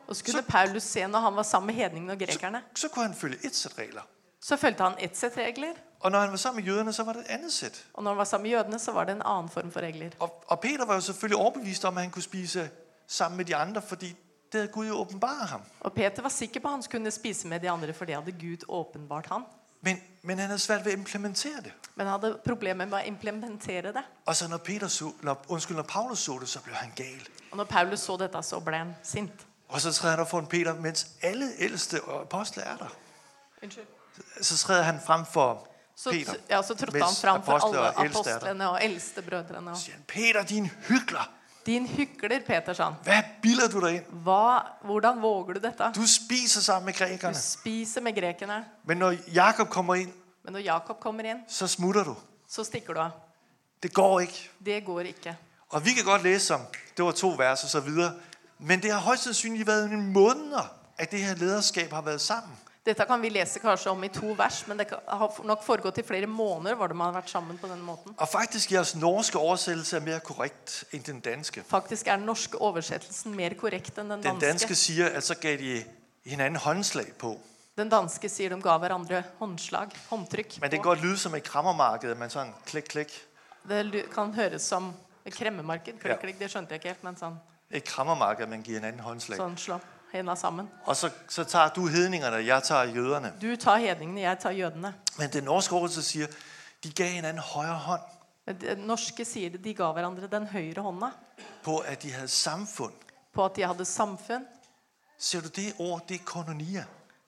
[SPEAKER 2] Og så kunne Paulus se når han var sammen med hedningene og grekerne,
[SPEAKER 1] så kunne han følge et sæt regler.
[SPEAKER 2] så fulgte han ett sett regler.
[SPEAKER 1] Og når han var sammen med jøderne, så var det et andet sæt.
[SPEAKER 2] Og når han var sammen med jødene, så var det en annen form for regler.
[SPEAKER 1] Og, og Peter var jo selvfølgelig overbevist om, at han kunne spise sammen med de andre, fordi det havde Gud jo åbenbaret ham.
[SPEAKER 2] Og Peter var sikker på at han skulle spise med de andre, for det hadde Gud åpenbart han.
[SPEAKER 1] Men, men han havde svært ved at implementere det.
[SPEAKER 2] Men han hadde problemer med å implementere det.
[SPEAKER 1] Og så når, Peter så, når, undskyld, når Paulus så det, så blev han gal.
[SPEAKER 2] Og når Paulus så dette, så ble han sint.
[SPEAKER 1] Og så træder han op foran Peter, mens alle ældste og apostle er der.
[SPEAKER 2] Unnskyld.
[SPEAKER 1] Så træder han frem for
[SPEAKER 2] Så,
[SPEAKER 1] Peter.
[SPEAKER 2] ja, så trådte
[SPEAKER 1] mens
[SPEAKER 2] han fram for
[SPEAKER 1] apostler
[SPEAKER 2] alle
[SPEAKER 1] og ældste er der.
[SPEAKER 2] apostlene og eldste brødrene.
[SPEAKER 1] Så
[SPEAKER 2] Og,
[SPEAKER 1] siger han, Peter, din hykler.
[SPEAKER 2] Din hykler, Peter, sa han.
[SPEAKER 1] Hvad bilder du dig ind?
[SPEAKER 2] Hva, hvordan våger du dette?
[SPEAKER 1] Du spiser sammen med
[SPEAKER 2] Du
[SPEAKER 1] grækerne.
[SPEAKER 2] spiser med grekerne.
[SPEAKER 1] Men når Jakob kommer ind,
[SPEAKER 2] Men når Jakob kommer inn,
[SPEAKER 1] så smutter du.
[SPEAKER 2] så stikker du av.
[SPEAKER 1] Det går ikke.
[SPEAKER 2] Det går ikke.
[SPEAKER 1] Og vi kan godt læse om, det var to vers og så videre. Men det har højst sandsynligt været en måneder, at det her lederskab har været sammen.
[SPEAKER 2] Dette kan vi lese kanskje om i to vers, men det kan- har nok foregått i flere måneder hvor de har vært sammen på den måten.
[SPEAKER 1] Og faktisk jeres norske oversættelse er mere korrekt end den danske.
[SPEAKER 2] Faktisk er den norske oversettelsen mer korrekt enn
[SPEAKER 1] Den
[SPEAKER 2] den
[SPEAKER 1] danske
[SPEAKER 2] danske.
[SPEAKER 1] siger, at så gav de hinanden håndslag på.
[SPEAKER 2] Den danske sier de ga hverandre håndslag, håndtrykk.
[SPEAKER 1] Men det kan
[SPEAKER 2] på.
[SPEAKER 1] godt lyde som et krammermarked, at man sådan klik, klik.
[SPEAKER 2] Det lu- kan høres som kremmemarked.
[SPEAKER 1] Ja.
[SPEAKER 2] Klikk, klikk, det skjønte jeg ikke helt, men sånn,
[SPEAKER 1] Et krammermarked, man giver hinanden håndslag.
[SPEAKER 2] sånn slå henda sammen.
[SPEAKER 1] Og så, så tager du hedningerne, og jeg tager jøderne.
[SPEAKER 2] Du tar hedningene, jeg tar jødene.
[SPEAKER 1] Men den norske oversættelse siger, de gav hinanden højre hånd
[SPEAKER 2] Men det- Norske sier det, de ga hverandre den høyre hånda
[SPEAKER 1] på, at de havde samfund.
[SPEAKER 2] på at de hadde samfunn.
[SPEAKER 1] Ser du det ord, det er kononia.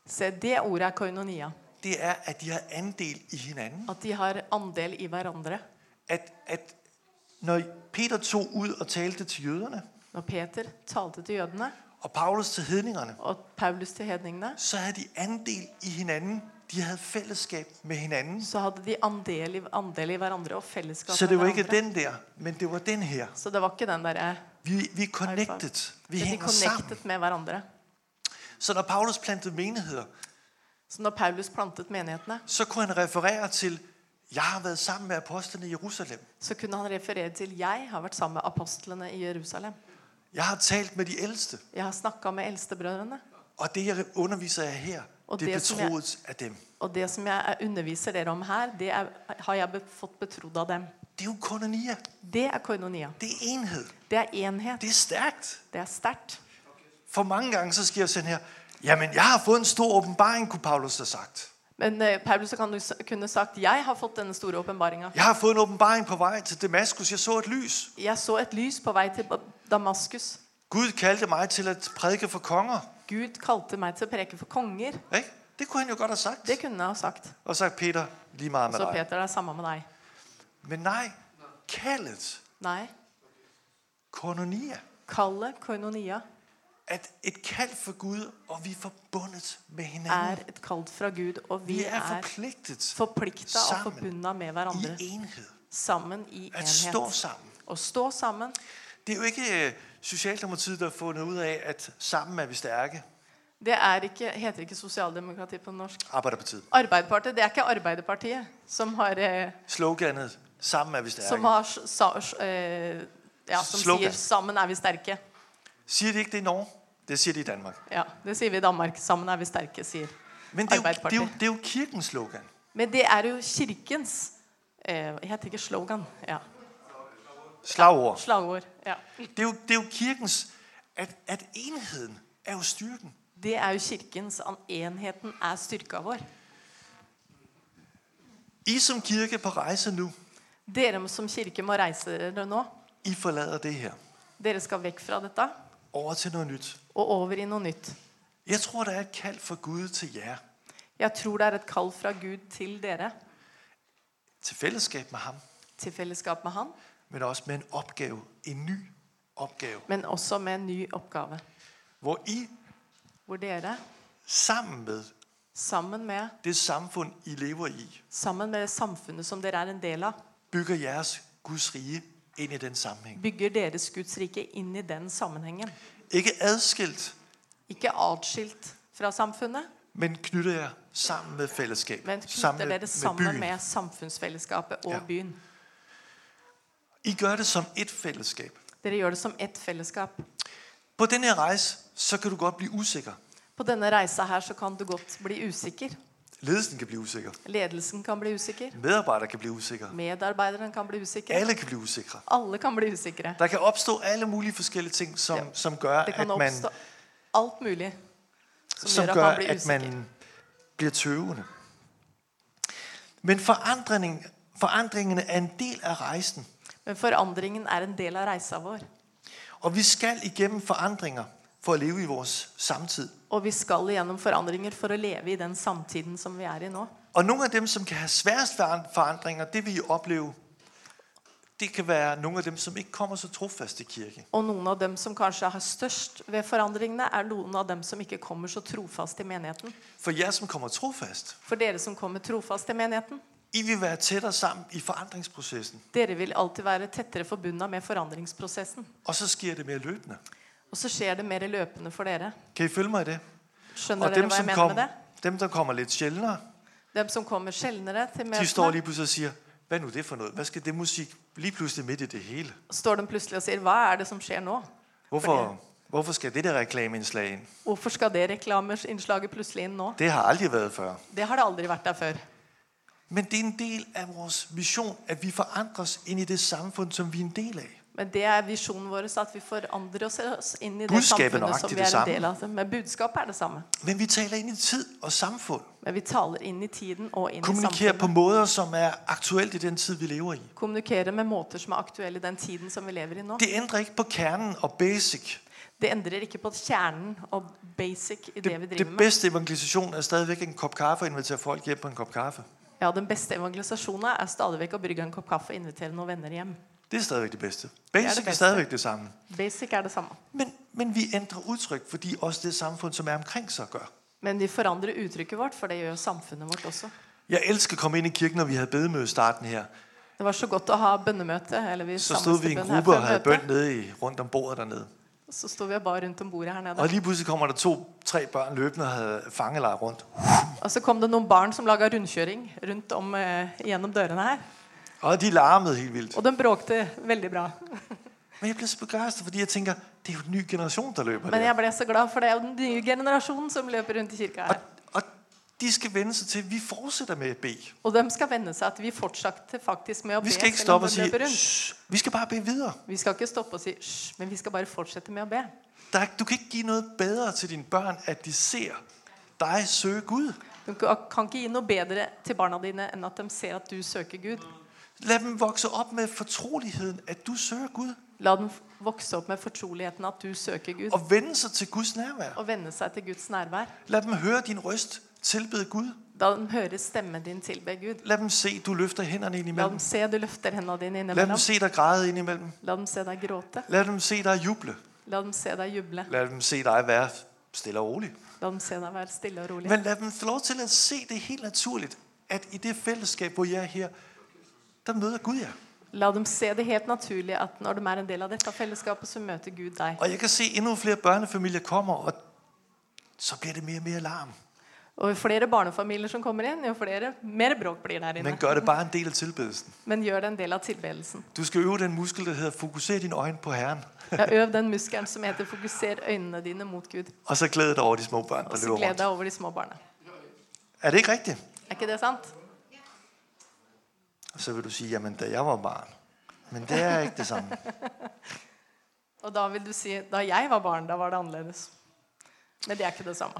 [SPEAKER 2] Se, det ordet er koinonia.
[SPEAKER 1] Det er, at de har andel i hinanden.
[SPEAKER 2] At de har andel i hverandre.
[SPEAKER 1] At, at når Peter tog ud og talte til jøderne,
[SPEAKER 2] Når Peter talte til jødene
[SPEAKER 1] og Paulus til hedningerne,
[SPEAKER 2] og Paulus til hedningene,
[SPEAKER 1] så havde de andel i hinanden. De havde fællesskab med hinanden.
[SPEAKER 2] så hadde de andel i, andel i hverandre og fellesskap
[SPEAKER 1] Så det var
[SPEAKER 2] med
[SPEAKER 1] ikke
[SPEAKER 2] hverandre.
[SPEAKER 1] den der, men det var den her.
[SPEAKER 2] Så det var ikke den derre
[SPEAKER 1] Vi, vi er connected. Vi
[SPEAKER 2] De
[SPEAKER 1] hænger sammen.
[SPEAKER 2] connectet med hverandre.
[SPEAKER 1] Så når Paulus plantede menigheder,
[SPEAKER 2] Så når Paulus plantet menighetene,
[SPEAKER 1] så kunne han referere til, jeg har været sammen med apostlene i Jerusalem.
[SPEAKER 2] så kunne han referere til jeg har vært sammen med apostlene i Jerusalem.
[SPEAKER 1] Jeg har talt med de ældste,
[SPEAKER 2] Jeg har snakka med eldstebrødrene.
[SPEAKER 1] og det jeg underviser jer her,
[SPEAKER 2] Og
[SPEAKER 1] det er
[SPEAKER 2] det, som jeg-
[SPEAKER 1] betroet af dem.
[SPEAKER 2] Og det som jeg underviser dere om her, det er, har jeg be- fått betrodd av dem.
[SPEAKER 1] Det er jo kononia.
[SPEAKER 2] Det er koinonia.
[SPEAKER 1] Det er enhed.
[SPEAKER 2] Det er enhet.
[SPEAKER 1] Det er stærkt.
[SPEAKER 2] Det er sterkt.
[SPEAKER 1] For mange gange så sker sådan her, jamen jeg har fået en stor åbenbaring, kunne Paulus have sagt.
[SPEAKER 2] Men eh, Paulus kan du s- kunne sagt jeg har fått denne store åpenbaringa.
[SPEAKER 1] Jeg har fået en åbenbaring på vej til Damaskus. Jeg så et lys.
[SPEAKER 2] Jeg så et lys på vei til Ba- Damaskus.
[SPEAKER 1] Gud kaldte mig til at prædike for konger.
[SPEAKER 2] Gud kalte meg til å preke for konger.
[SPEAKER 1] Ikke? Det kunne han jo godt have sagt.
[SPEAKER 2] Det kunne jeg ha sagt.
[SPEAKER 1] Og sagt, Peter, lige meget med
[SPEAKER 2] Så
[SPEAKER 1] dig.
[SPEAKER 2] Peter, det er samme med deg.
[SPEAKER 1] Men nej, kaldet,
[SPEAKER 2] Nei.
[SPEAKER 1] kononia.
[SPEAKER 2] Kallet koinonia
[SPEAKER 1] At et kald for Gud, og vi er forbundet med hinanden.
[SPEAKER 2] er et kall fra Gud, og vi
[SPEAKER 1] Vi er
[SPEAKER 2] er
[SPEAKER 1] forpligtet
[SPEAKER 2] forplikta og
[SPEAKER 1] Sammen.
[SPEAKER 2] forbunda med hverandre.
[SPEAKER 1] i enhed.
[SPEAKER 2] Sammen i
[SPEAKER 1] At stå
[SPEAKER 2] enhet.
[SPEAKER 1] sammen.
[SPEAKER 2] Å stå sammen
[SPEAKER 1] Det er jo ikke øh, Socialdemokratiet, der har fundet ud af, at sammen er vi stærke.
[SPEAKER 2] Det er ikke, heter ikke sosialdemokrati på norsk.
[SPEAKER 1] Arbejderpartiet.
[SPEAKER 2] Arbeiderpartiet, det er ikke Arbeiderpartiet som har, eh,
[SPEAKER 1] Sloganet, sammen er vi stærke.
[SPEAKER 2] som har s- sa, s- eh, ja, som
[SPEAKER 1] Slogan.
[SPEAKER 2] sier 'sammen er vi sterke'.
[SPEAKER 1] Siger de ikke det i Norge? Det siger de i Danmark.
[SPEAKER 2] Ja, Det sier vi i Danmark. 'Sammen er vi sterke', sier
[SPEAKER 1] Men det er, jo, det, er jo,
[SPEAKER 2] Arbeiderpartiet.
[SPEAKER 1] det er jo kirkens slogan.
[SPEAKER 2] Men det er jo kirkens eh, Jeg heter ikke slogan. Ja.
[SPEAKER 1] Slagord.
[SPEAKER 2] Slagord. Ja.
[SPEAKER 1] Det er jo, det er jo kirkens, at, at enheden er jo styrken.
[SPEAKER 2] Det er jo kirkens an- Enheten er styrka vår.
[SPEAKER 1] I som kirke på rejse nu,
[SPEAKER 2] Dere som kirke må reise dere nå.
[SPEAKER 1] I forlader det her.
[SPEAKER 2] Dere skal vekk fra dette
[SPEAKER 1] Over til noget nyt.
[SPEAKER 2] og over i noe nytt.
[SPEAKER 1] Jeg tror, der er et kald for Gud til jer.
[SPEAKER 2] Jeg tror det er et kall fra Gud til dere,
[SPEAKER 1] Til fællesskab med ham,
[SPEAKER 2] til fellesskap med Han.
[SPEAKER 1] men også med en opgave. En ny opgave.
[SPEAKER 2] men også med en ny oppgave.
[SPEAKER 1] Hvor I
[SPEAKER 2] Hvor dere,
[SPEAKER 1] sammen med
[SPEAKER 2] sammen med,
[SPEAKER 1] det samfund, I lever i,
[SPEAKER 2] sammen med det samfunnet som dere er en del av,
[SPEAKER 1] bygger jeres Guds rige ind i den sammenhæng.
[SPEAKER 2] bygger deres Guds rike inn i den sammenhengen.
[SPEAKER 1] Ikke adskilt,
[SPEAKER 2] Ikke atskilt fra samfunnet,
[SPEAKER 1] men knytter jer sammen med fællesskab.
[SPEAKER 2] men
[SPEAKER 1] sammen
[SPEAKER 2] knytter
[SPEAKER 1] med,
[SPEAKER 2] dere sammen
[SPEAKER 1] byen.
[SPEAKER 2] med, samfunnsfellesskapet og
[SPEAKER 1] Ja.
[SPEAKER 2] byen.
[SPEAKER 1] I gør det som et fællesskab.
[SPEAKER 2] Dere gjør det som ett fellesskap.
[SPEAKER 1] På den her rejse, så kan du godt blive usikker.
[SPEAKER 2] På denne reisa her så kan du godt bli usikker.
[SPEAKER 1] Ledelsen kan blive usikker.
[SPEAKER 2] Ledelsen kan bli usikker.
[SPEAKER 1] Medarbejdere kan blive usikre.
[SPEAKER 2] Medarbeideren kan bli usikker.
[SPEAKER 1] Alle kan blive usikre.
[SPEAKER 2] Alle kan bli usikre.
[SPEAKER 1] Der kan opstå alle mulige forskellige ting, som, ja. som gør,
[SPEAKER 2] Det kan
[SPEAKER 1] at man,
[SPEAKER 2] oppstå alt mulig som,
[SPEAKER 1] som
[SPEAKER 2] gjør
[SPEAKER 1] gør,
[SPEAKER 2] at man blir
[SPEAKER 1] at
[SPEAKER 2] usikker.
[SPEAKER 1] man bliver tøvende. Men forandringen, forandringerne er en del af rejsen.
[SPEAKER 2] Men forandringen er en del av reisa vår.
[SPEAKER 1] Og vi skal igennem forandringer for at leve i vores samtid.
[SPEAKER 2] Og vi skal igjennom forandringer for å leve i den samtiden som vi er i nå.
[SPEAKER 1] Og nogle af dem, som kan have sværest foran- forandringer, det vil I opleve, det kan være nogle af dem, som ikke kommer så trofast i kirke.
[SPEAKER 2] Og noen av dem som kanskje har størst ved forandringene, er noen av dem som ikke kommer så trofast til menigheten.
[SPEAKER 1] For jer, som kommer trofast,
[SPEAKER 2] For dere som kommer trofast til menigheten,
[SPEAKER 1] I vil være tættere sammen i forandringsprocessen,
[SPEAKER 2] dere vil alltid være tettere forbundet med forandringsprosessen.
[SPEAKER 1] og så sker det mere løbende.
[SPEAKER 2] Og så skjer det mer løpende for dere.
[SPEAKER 1] Kan I følge mig i det?
[SPEAKER 2] Skjønner
[SPEAKER 1] Og
[SPEAKER 2] dere
[SPEAKER 1] dem,
[SPEAKER 2] hva
[SPEAKER 1] som,
[SPEAKER 2] jeg mener
[SPEAKER 1] kom,
[SPEAKER 2] med det?
[SPEAKER 1] dem, der kommer lidt sjældnere,
[SPEAKER 2] Dem som kommer sjeldnere til
[SPEAKER 1] de står
[SPEAKER 2] møtene,
[SPEAKER 1] lige pludselig og siger, hvad nu det for noget? Hvad skal det musik lige pludselig midt i det hele?
[SPEAKER 2] står de plutselig og sier, hva er det som skjer nå?
[SPEAKER 1] Hvorfor, hvorfor skal det der reklameindslag ind?
[SPEAKER 2] Hvorfor skal det reklamesinnslaget plutselig inn nå?
[SPEAKER 1] Det har aldrig været før.
[SPEAKER 2] Det har det aldri vært der før.
[SPEAKER 1] Men det er en del af vores vision, at vi forandres ind i det samfund, som vi er en del af.
[SPEAKER 2] Men det er visjonen vår, at vi forandrer oss- oss inn i det
[SPEAKER 1] Budskapet er
[SPEAKER 2] samfunnet som
[SPEAKER 1] nøyaktig det
[SPEAKER 2] vi er en
[SPEAKER 1] samme.
[SPEAKER 2] del av. Altså, Men budskapet er det samme.
[SPEAKER 1] Men vi taler ind i tid og samfund.
[SPEAKER 2] Men vi taler inn i tiden og inn i
[SPEAKER 1] Kommunikerer på
[SPEAKER 2] samfunnet.
[SPEAKER 1] måder, som er aktuelt i den tid, vi lever i.
[SPEAKER 2] Kommunikere med måter som er aktuelle i den tiden som vi lever i nå.
[SPEAKER 1] Det ændrer ikke på kernen og basic.
[SPEAKER 2] Det endrer ikke på kjernen og basic i det, vi
[SPEAKER 1] Det, det
[SPEAKER 2] driver med.
[SPEAKER 1] bedste evangelisation er stadigvæk en kop kaffe og invitere folk hjem på en kop kaffe.
[SPEAKER 2] Ja, Den beste evangelisasjonen er stadig vekk å brygge en kopp kaffe og invitere noen venner hjem.
[SPEAKER 1] Det er stadigvæk det bedste. Basic det er, det
[SPEAKER 2] bedste.
[SPEAKER 1] er stadigvæk det samme.
[SPEAKER 2] Basic er det samme.
[SPEAKER 1] Men, men vi ændrer udtryk, fordi også det samfund, som er omkring sig, gør.
[SPEAKER 2] Men vi forandrer uttrykket vårt, for det gjør jo samfunnet vårt også.
[SPEAKER 1] Jeg elsker at komme ind i kirken, når vi havde bedemøde i starten her.
[SPEAKER 2] Det var så godt å ha bønnemøte. Eller vi
[SPEAKER 1] Så stod vi i en
[SPEAKER 2] samles til bønn her
[SPEAKER 1] gruppe og
[SPEAKER 2] før
[SPEAKER 1] havde bøn
[SPEAKER 2] møtet.
[SPEAKER 1] nede i, rundt om bordet dernede.
[SPEAKER 2] Så stod vi bare rundt om bordet her nede.
[SPEAKER 1] Og lige pludselig kommer der to-tre børn løbende og havde fangelejr rundt.
[SPEAKER 2] Og så kom det noen barn som laga rundkjøring rundt om eh, gjennom dørene her.
[SPEAKER 1] Og de larmede helt vildt.
[SPEAKER 2] Og de bråkte veldig bra.
[SPEAKER 1] Men jeg blev så begejstret, fordi jeg tænker, det er jo en ny generation, der løber
[SPEAKER 2] Men
[SPEAKER 1] der.
[SPEAKER 2] jeg ble så glad, for det er jo den nye generasjonen som løper rundt i kirka
[SPEAKER 1] Og,
[SPEAKER 2] her.
[SPEAKER 1] og de skal vende sig til, at vi fortsætter med at bede.
[SPEAKER 2] Og de skal vende seg at vi fortsatte faktisk med å
[SPEAKER 1] Vi
[SPEAKER 2] be.
[SPEAKER 1] skal ikke
[SPEAKER 2] selv om
[SPEAKER 1] stoppe og
[SPEAKER 2] de løper
[SPEAKER 1] sige,
[SPEAKER 2] rundt.
[SPEAKER 1] "Shh, vi skal bare bede videre.
[SPEAKER 2] Vi skal ikke stoppe og si hysj, men vi skal bare fortsette med å be.
[SPEAKER 1] Der, er- du kan ikke give noget bedre til dine børn, at de ser dig søge Gud.
[SPEAKER 2] Du kan kan ikke gi noe bedre til barna dine enn at de ser at du søker Gud.
[SPEAKER 1] Lad dem vokse op med fortroligheden, at du søger Gud.
[SPEAKER 2] La dem vokse opp med fortroligheten at du søker Gud,
[SPEAKER 1] Og vende sig til Guds nærvær.
[SPEAKER 2] og vende seg til Guds nærvær.
[SPEAKER 1] Lad dem høre din røst tilbede Gud.
[SPEAKER 2] Da de hører stemmen din tilbe Gud.
[SPEAKER 1] Lad dem se, du løfter hænderne ind
[SPEAKER 2] La dem
[SPEAKER 1] imellem.
[SPEAKER 2] se du løfter hendene
[SPEAKER 1] Lad
[SPEAKER 2] dine
[SPEAKER 1] dem
[SPEAKER 2] innimellom.
[SPEAKER 1] se dig græde ind imellem.
[SPEAKER 2] La dem se deg gråte.
[SPEAKER 1] Lad dem se dig juble.
[SPEAKER 2] La dem se deg juble.
[SPEAKER 1] Lad dem se dig være stille og rolig.
[SPEAKER 2] La dem se deg være stille og rolig.
[SPEAKER 1] Men lad dem få lov til at se det helt naturligt, at i det fællesskab, hvor jeg er her, der møder Gud jer.
[SPEAKER 2] La dem se det helt naturlig at når de er en del av dette fellesskapet, så møter Gud deg.
[SPEAKER 1] Og jeg kan se, at endnu flere børnefamilier kommer, og så bliver det mere og mere larm.
[SPEAKER 2] Og jo flere barnefamilier som kommer inn, jo flere, mer bråk blir der
[SPEAKER 1] Men
[SPEAKER 2] inne.
[SPEAKER 1] gør det bare en del af tilbedelsen.
[SPEAKER 2] Men gjør det en del av tilbedelsen.
[SPEAKER 1] Du skal øve den muskel, der hedder fokuser dine øjne på Herren.
[SPEAKER 2] Ja, Øv den muskelen som heter 'fokuser øynene dine mot Gud'.
[SPEAKER 1] Og så glæde dig over de små børn, der
[SPEAKER 2] Og så
[SPEAKER 1] løber
[SPEAKER 2] gled
[SPEAKER 1] rundt.
[SPEAKER 2] deg over de små barna.
[SPEAKER 1] Er det ikke rigtigt?
[SPEAKER 2] Er ikke det sant?
[SPEAKER 1] Og så vil du sige, jamen da jeg var barn. Men det er ikke det samme.
[SPEAKER 2] Og da vil du si 'da jeg var barn, da var det annerledes'. Men det er ikke det samme.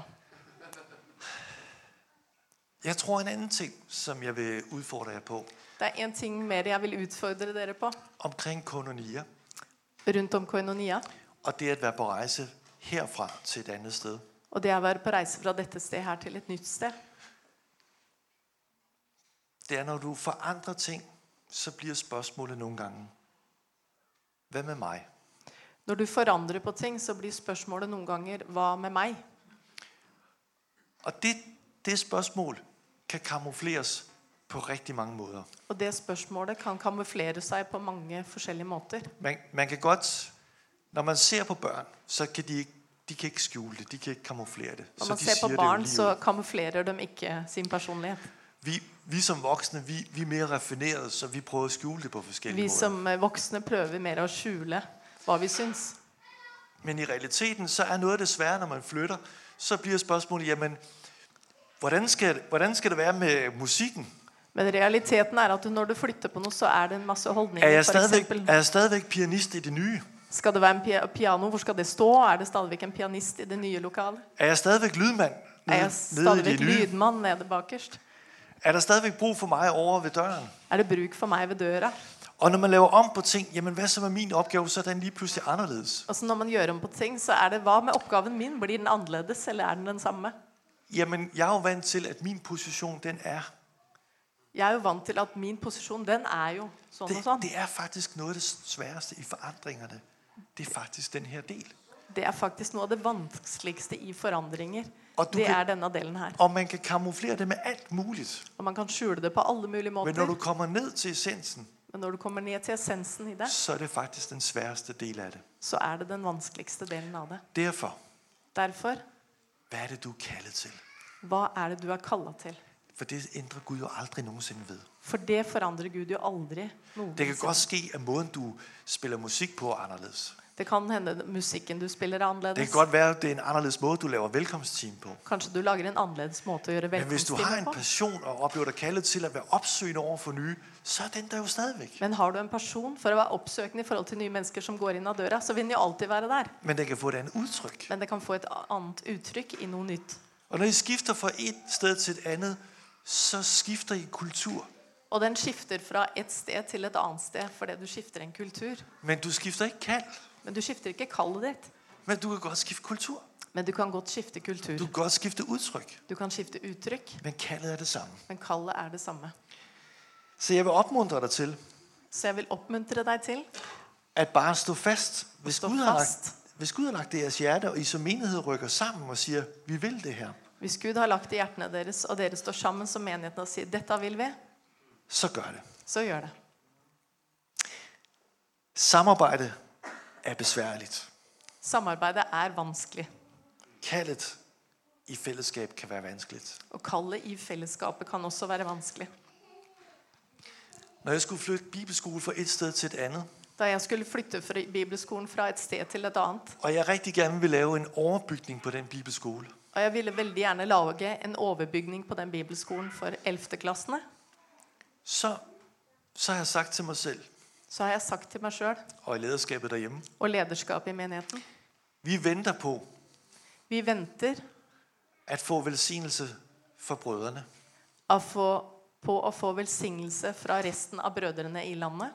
[SPEAKER 1] Jeg tror en anden ting, som jeg vil udfordre jer på,
[SPEAKER 2] Det er én ting mer jeg vil utfordre dere på
[SPEAKER 1] omkring kononier,
[SPEAKER 2] rundt om koinonia.
[SPEAKER 1] og det at være på rejse herfra til et andet sted.
[SPEAKER 2] Og det er å være på reise fra dette stedet her til et nytt sted.
[SPEAKER 1] Det er, når du forandrer ting, så bliver spørgsmålet nogle gange, hvad med mig?
[SPEAKER 2] Når du forandrer på ting, så blir spørsmålet noen ganger 'hva med meg?'
[SPEAKER 1] Og det, det spørgsmål kan kamufleres på rigtig mange måder.
[SPEAKER 2] Og det spørsmålet kan kamuflere seg på mange forskjellige måter.
[SPEAKER 1] Man, man kan godt, når man ser på børn, så kan de ikke, de kan ikke skjule det, de kan ikke kamuflere det.
[SPEAKER 2] Når
[SPEAKER 1] så
[SPEAKER 2] man
[SPEAKER 1] de
[SPEAKER 2] ser
[SPEAKER 1] siger
[SPEAKER 2] på
[SPEAKER 1] det jo
[SPEAKER 2] barn,
[SPEAKER 1] lige
[SPEAKER 2] så
[SPEAKER 1] ud.
[SPEAKER 2] kamuflerer de ikke sin personlighet.
[SPEAKER 1] Vi, vi som voksne, vi, vi er mere raffinerede, så vi prøver at skjule det på forskellige
[SPEAKER 2] Vi
[SPEAKER 1] måder.
[SPEAKER 2] som eh, voksne prøver mer å skjule hva vi syns.
[SPEAKER 1] Men i realiteten, så er noget af det svære, når man flytter, så bliver spørgsmålet, jamen, Hvordan skal, hvordan skal det være med musikken?
[SPEAKER 2] Men realiteten er at når du flytter på noe, så er det en masse holdninger.
[SPEAKER 1] Er jeg
[SPEAKER 2] for
[SPEAKER 1] stadigvæk,
[SPEAKER 2] eksempel.
[SPEAKER 1] er jeg stadigvæk pianist i det nye?
[SPEAKER 2] Skal det være en pia- piano? Hvor skal det stå? Er det stadigvæk en pianist i det nye lokalet?
[SPEAKER 1] Er jeg stadigvæk lydmand
[SPEAKER 2] Er jeg
[SPEAKER 1] nede, nede i det
[SPEAKER 2] stadigvæk
[SPEAKER 1] nye?
[SPEAKER 2] lydmann nede bakerst?
[SPEAKER 1] Er der stadigvæk brug for mig over ved døren?
[SPEAKER 2] Er det bruk for meg ved døra?
[SPEAKER 1] Og når man laver om på ting, jamen hvad så med min opgave, så er den lige pludselig anderledes.
[SPEAKER 2] Altså når man gjør om på ting, så er det hva med oppgaven min? Blir den annerledes, eller er den den samme?
[SPEAKER 1] Jamen, jeg er jo vant til, at min position, den er...
[SPEAKER 2] Jeg er jo vant til at min posisjon, den er jo sånn og
[SPEAKER 1] Det,
[SPEAKER 2] sånn.
[SPEAKER 1] det er faktisk noget af det sværeste i forandringerne. Det er faktisk den her del.
[SPEAKER 2] Det er faktisk noe av det vanskeligste i forandringer.
[SPEAKER 1] Og du
[SPEAKER 2] Det
[SPEAKER 1] kan-
[SPEAKER 2] er denne delen her.
[SPEAKER 1] Og man kan kamuflere det med alt muligt.
[SPEAKER 2] Og man kan skjule det på alle mulige
[SPEAKER 1] Men
[SPEAKER 2] måter.
[SPEAKER 1] når du kommer ned til essensen,
[SPEAKER 2] Men når du kommer ned til essensen i det,
[SPEAKER 1] så er det faktisk den sværeste del af det.
[SPEAKER 2] så er det den vanskeligste delen av det.
[SPEAKER 1] Derfor,
[SPEAKER 2] Derfor,
[SPEAKER 1] hvad er det, du er kaldet til?
[SPEAKER 2] hva er det du er kalla til?
[SPEAKER 1] For det ændrer Gud jo aldrig nogensinde ved.
[SPEAKER 2] For det forandrer Gud jo aldri
[SPEAKER 1] Det kan
[SPEAKER 2] noensinne.
[SPEAKER 1] godt ske, at måden, du spiller musik på, er anderledes.
[SPEAKER 2] Det kan hende musikken du spiller, er
[SPEAKER 1] Det kan
[SPEAKER 2] annerledes.
[SPEAKER 1] godt være, at det er en anderledes måde, du laver velkomstteam på.
[SPEAKER 2] Kanskje du lager en annerledes måte å gjøre
[SPEAKER 1] Men hvis du har en
[SPEAKER 2] velkomststille på.
[SPEAKER 1] passion og oplever dig kaldet til at være opsøgende over for nye, så er den der jo stadigvæk.
[SPEAKER 2] Men har du en person for å være oppsøkende i forhold til nye mennesker som går inn av døra, så vil den jo alltid være der.
[SPEAKER 1] Men den kan få et andet udtryk.
[SPEAKER 2] Men det kan få et annet uttrykk i noe nytt.
[SPEAKER 1] Og når I skifter fra et sted til et andet, så skifter I kultur.
[SPEAKER 2] Og den skifter fra et sted til et annet sted fordi du skifter en kultur.
[SPEAKER 1] Men du skifter ikke kald.
[SPEAKER 2] Men du skifter ikke kallet ditt.
[SPEAKER 1] Men du kan godt skifte kultur.
[SPEAKER 2] Men du kan godt skifte
[SPEAKER 1] Du
[SPEAKER 2] kultur.
[SPEAKER 1] kan godt skifte udtryk.
[SPEAKER 2] Du kan skifte uttrykk,
[SPEAKER 1] Men kaldet er det samme.
[SPEAKER 2] men kallet er det samme.
[SPEAKER 1] Så jeg vil opmuntre dig til,
[SPEAKER 2] Så jeg vil oppmuntre deg til
[SPEAKER 1] at bare stå fast. Hvis,
[SPEAKER 2] Stå
[SPEAKER 1] Gud, Har lagt,
[SPEAKER 2] fast.
[SPEAKER 1] hvis Gud har lagt det i jeres hjerte, og I som menighed rykker sammen og siger, vi vil det her,
[SPEAKER 2] Hvis Gud har lagt i hjertene deres, og dere står sammen som menigheten og sier 'dette vil vi',
[SPEAKER 1] så gør det.
[SPEAKER 2] så gjør det.
[SPEAKER 1] Samarbejde er besværligt.
[SPEAKER 2] Samarbeidet er vanskelig,
[SPEAKER 1] Kaldet i fællesskab kan være vanskeligt.
[SPEAKER 2] og kallet i fellesskapet kan også være vanskelig.
[SPEAKER 1] Når jeg skulle flytte bibelskole fra et sted til et andet,
[SPEAKER 2] Da jeg skulle flytte fra bibelskolen fra et sted til et annet,
[SPEAKER 1] og jeg rigtig gerne ville lave en overbygning på den bibelskole,
[SPEAKER 2] og jeg ville veldig gjerne lage en overbygning på den bibelskolen for 11.-klassene,
[SPEAKER 1] så, så har jeg sagt til mig selv,
[SPEAKER 2] så har jeg sagt til meg sjøl
[SPEAKER 1] og i lederskabet derhjemme,
[SPEAKER 2] og lederskapet i menigheten
[SPEAKER 1] vi venter på
[SPEAKER 2] Vi venter
[SPEAKER 1] at få velsignelse for brødrene.
[SPEAKER 2] av få, på å få velsignelse fra resten av brødrene i landet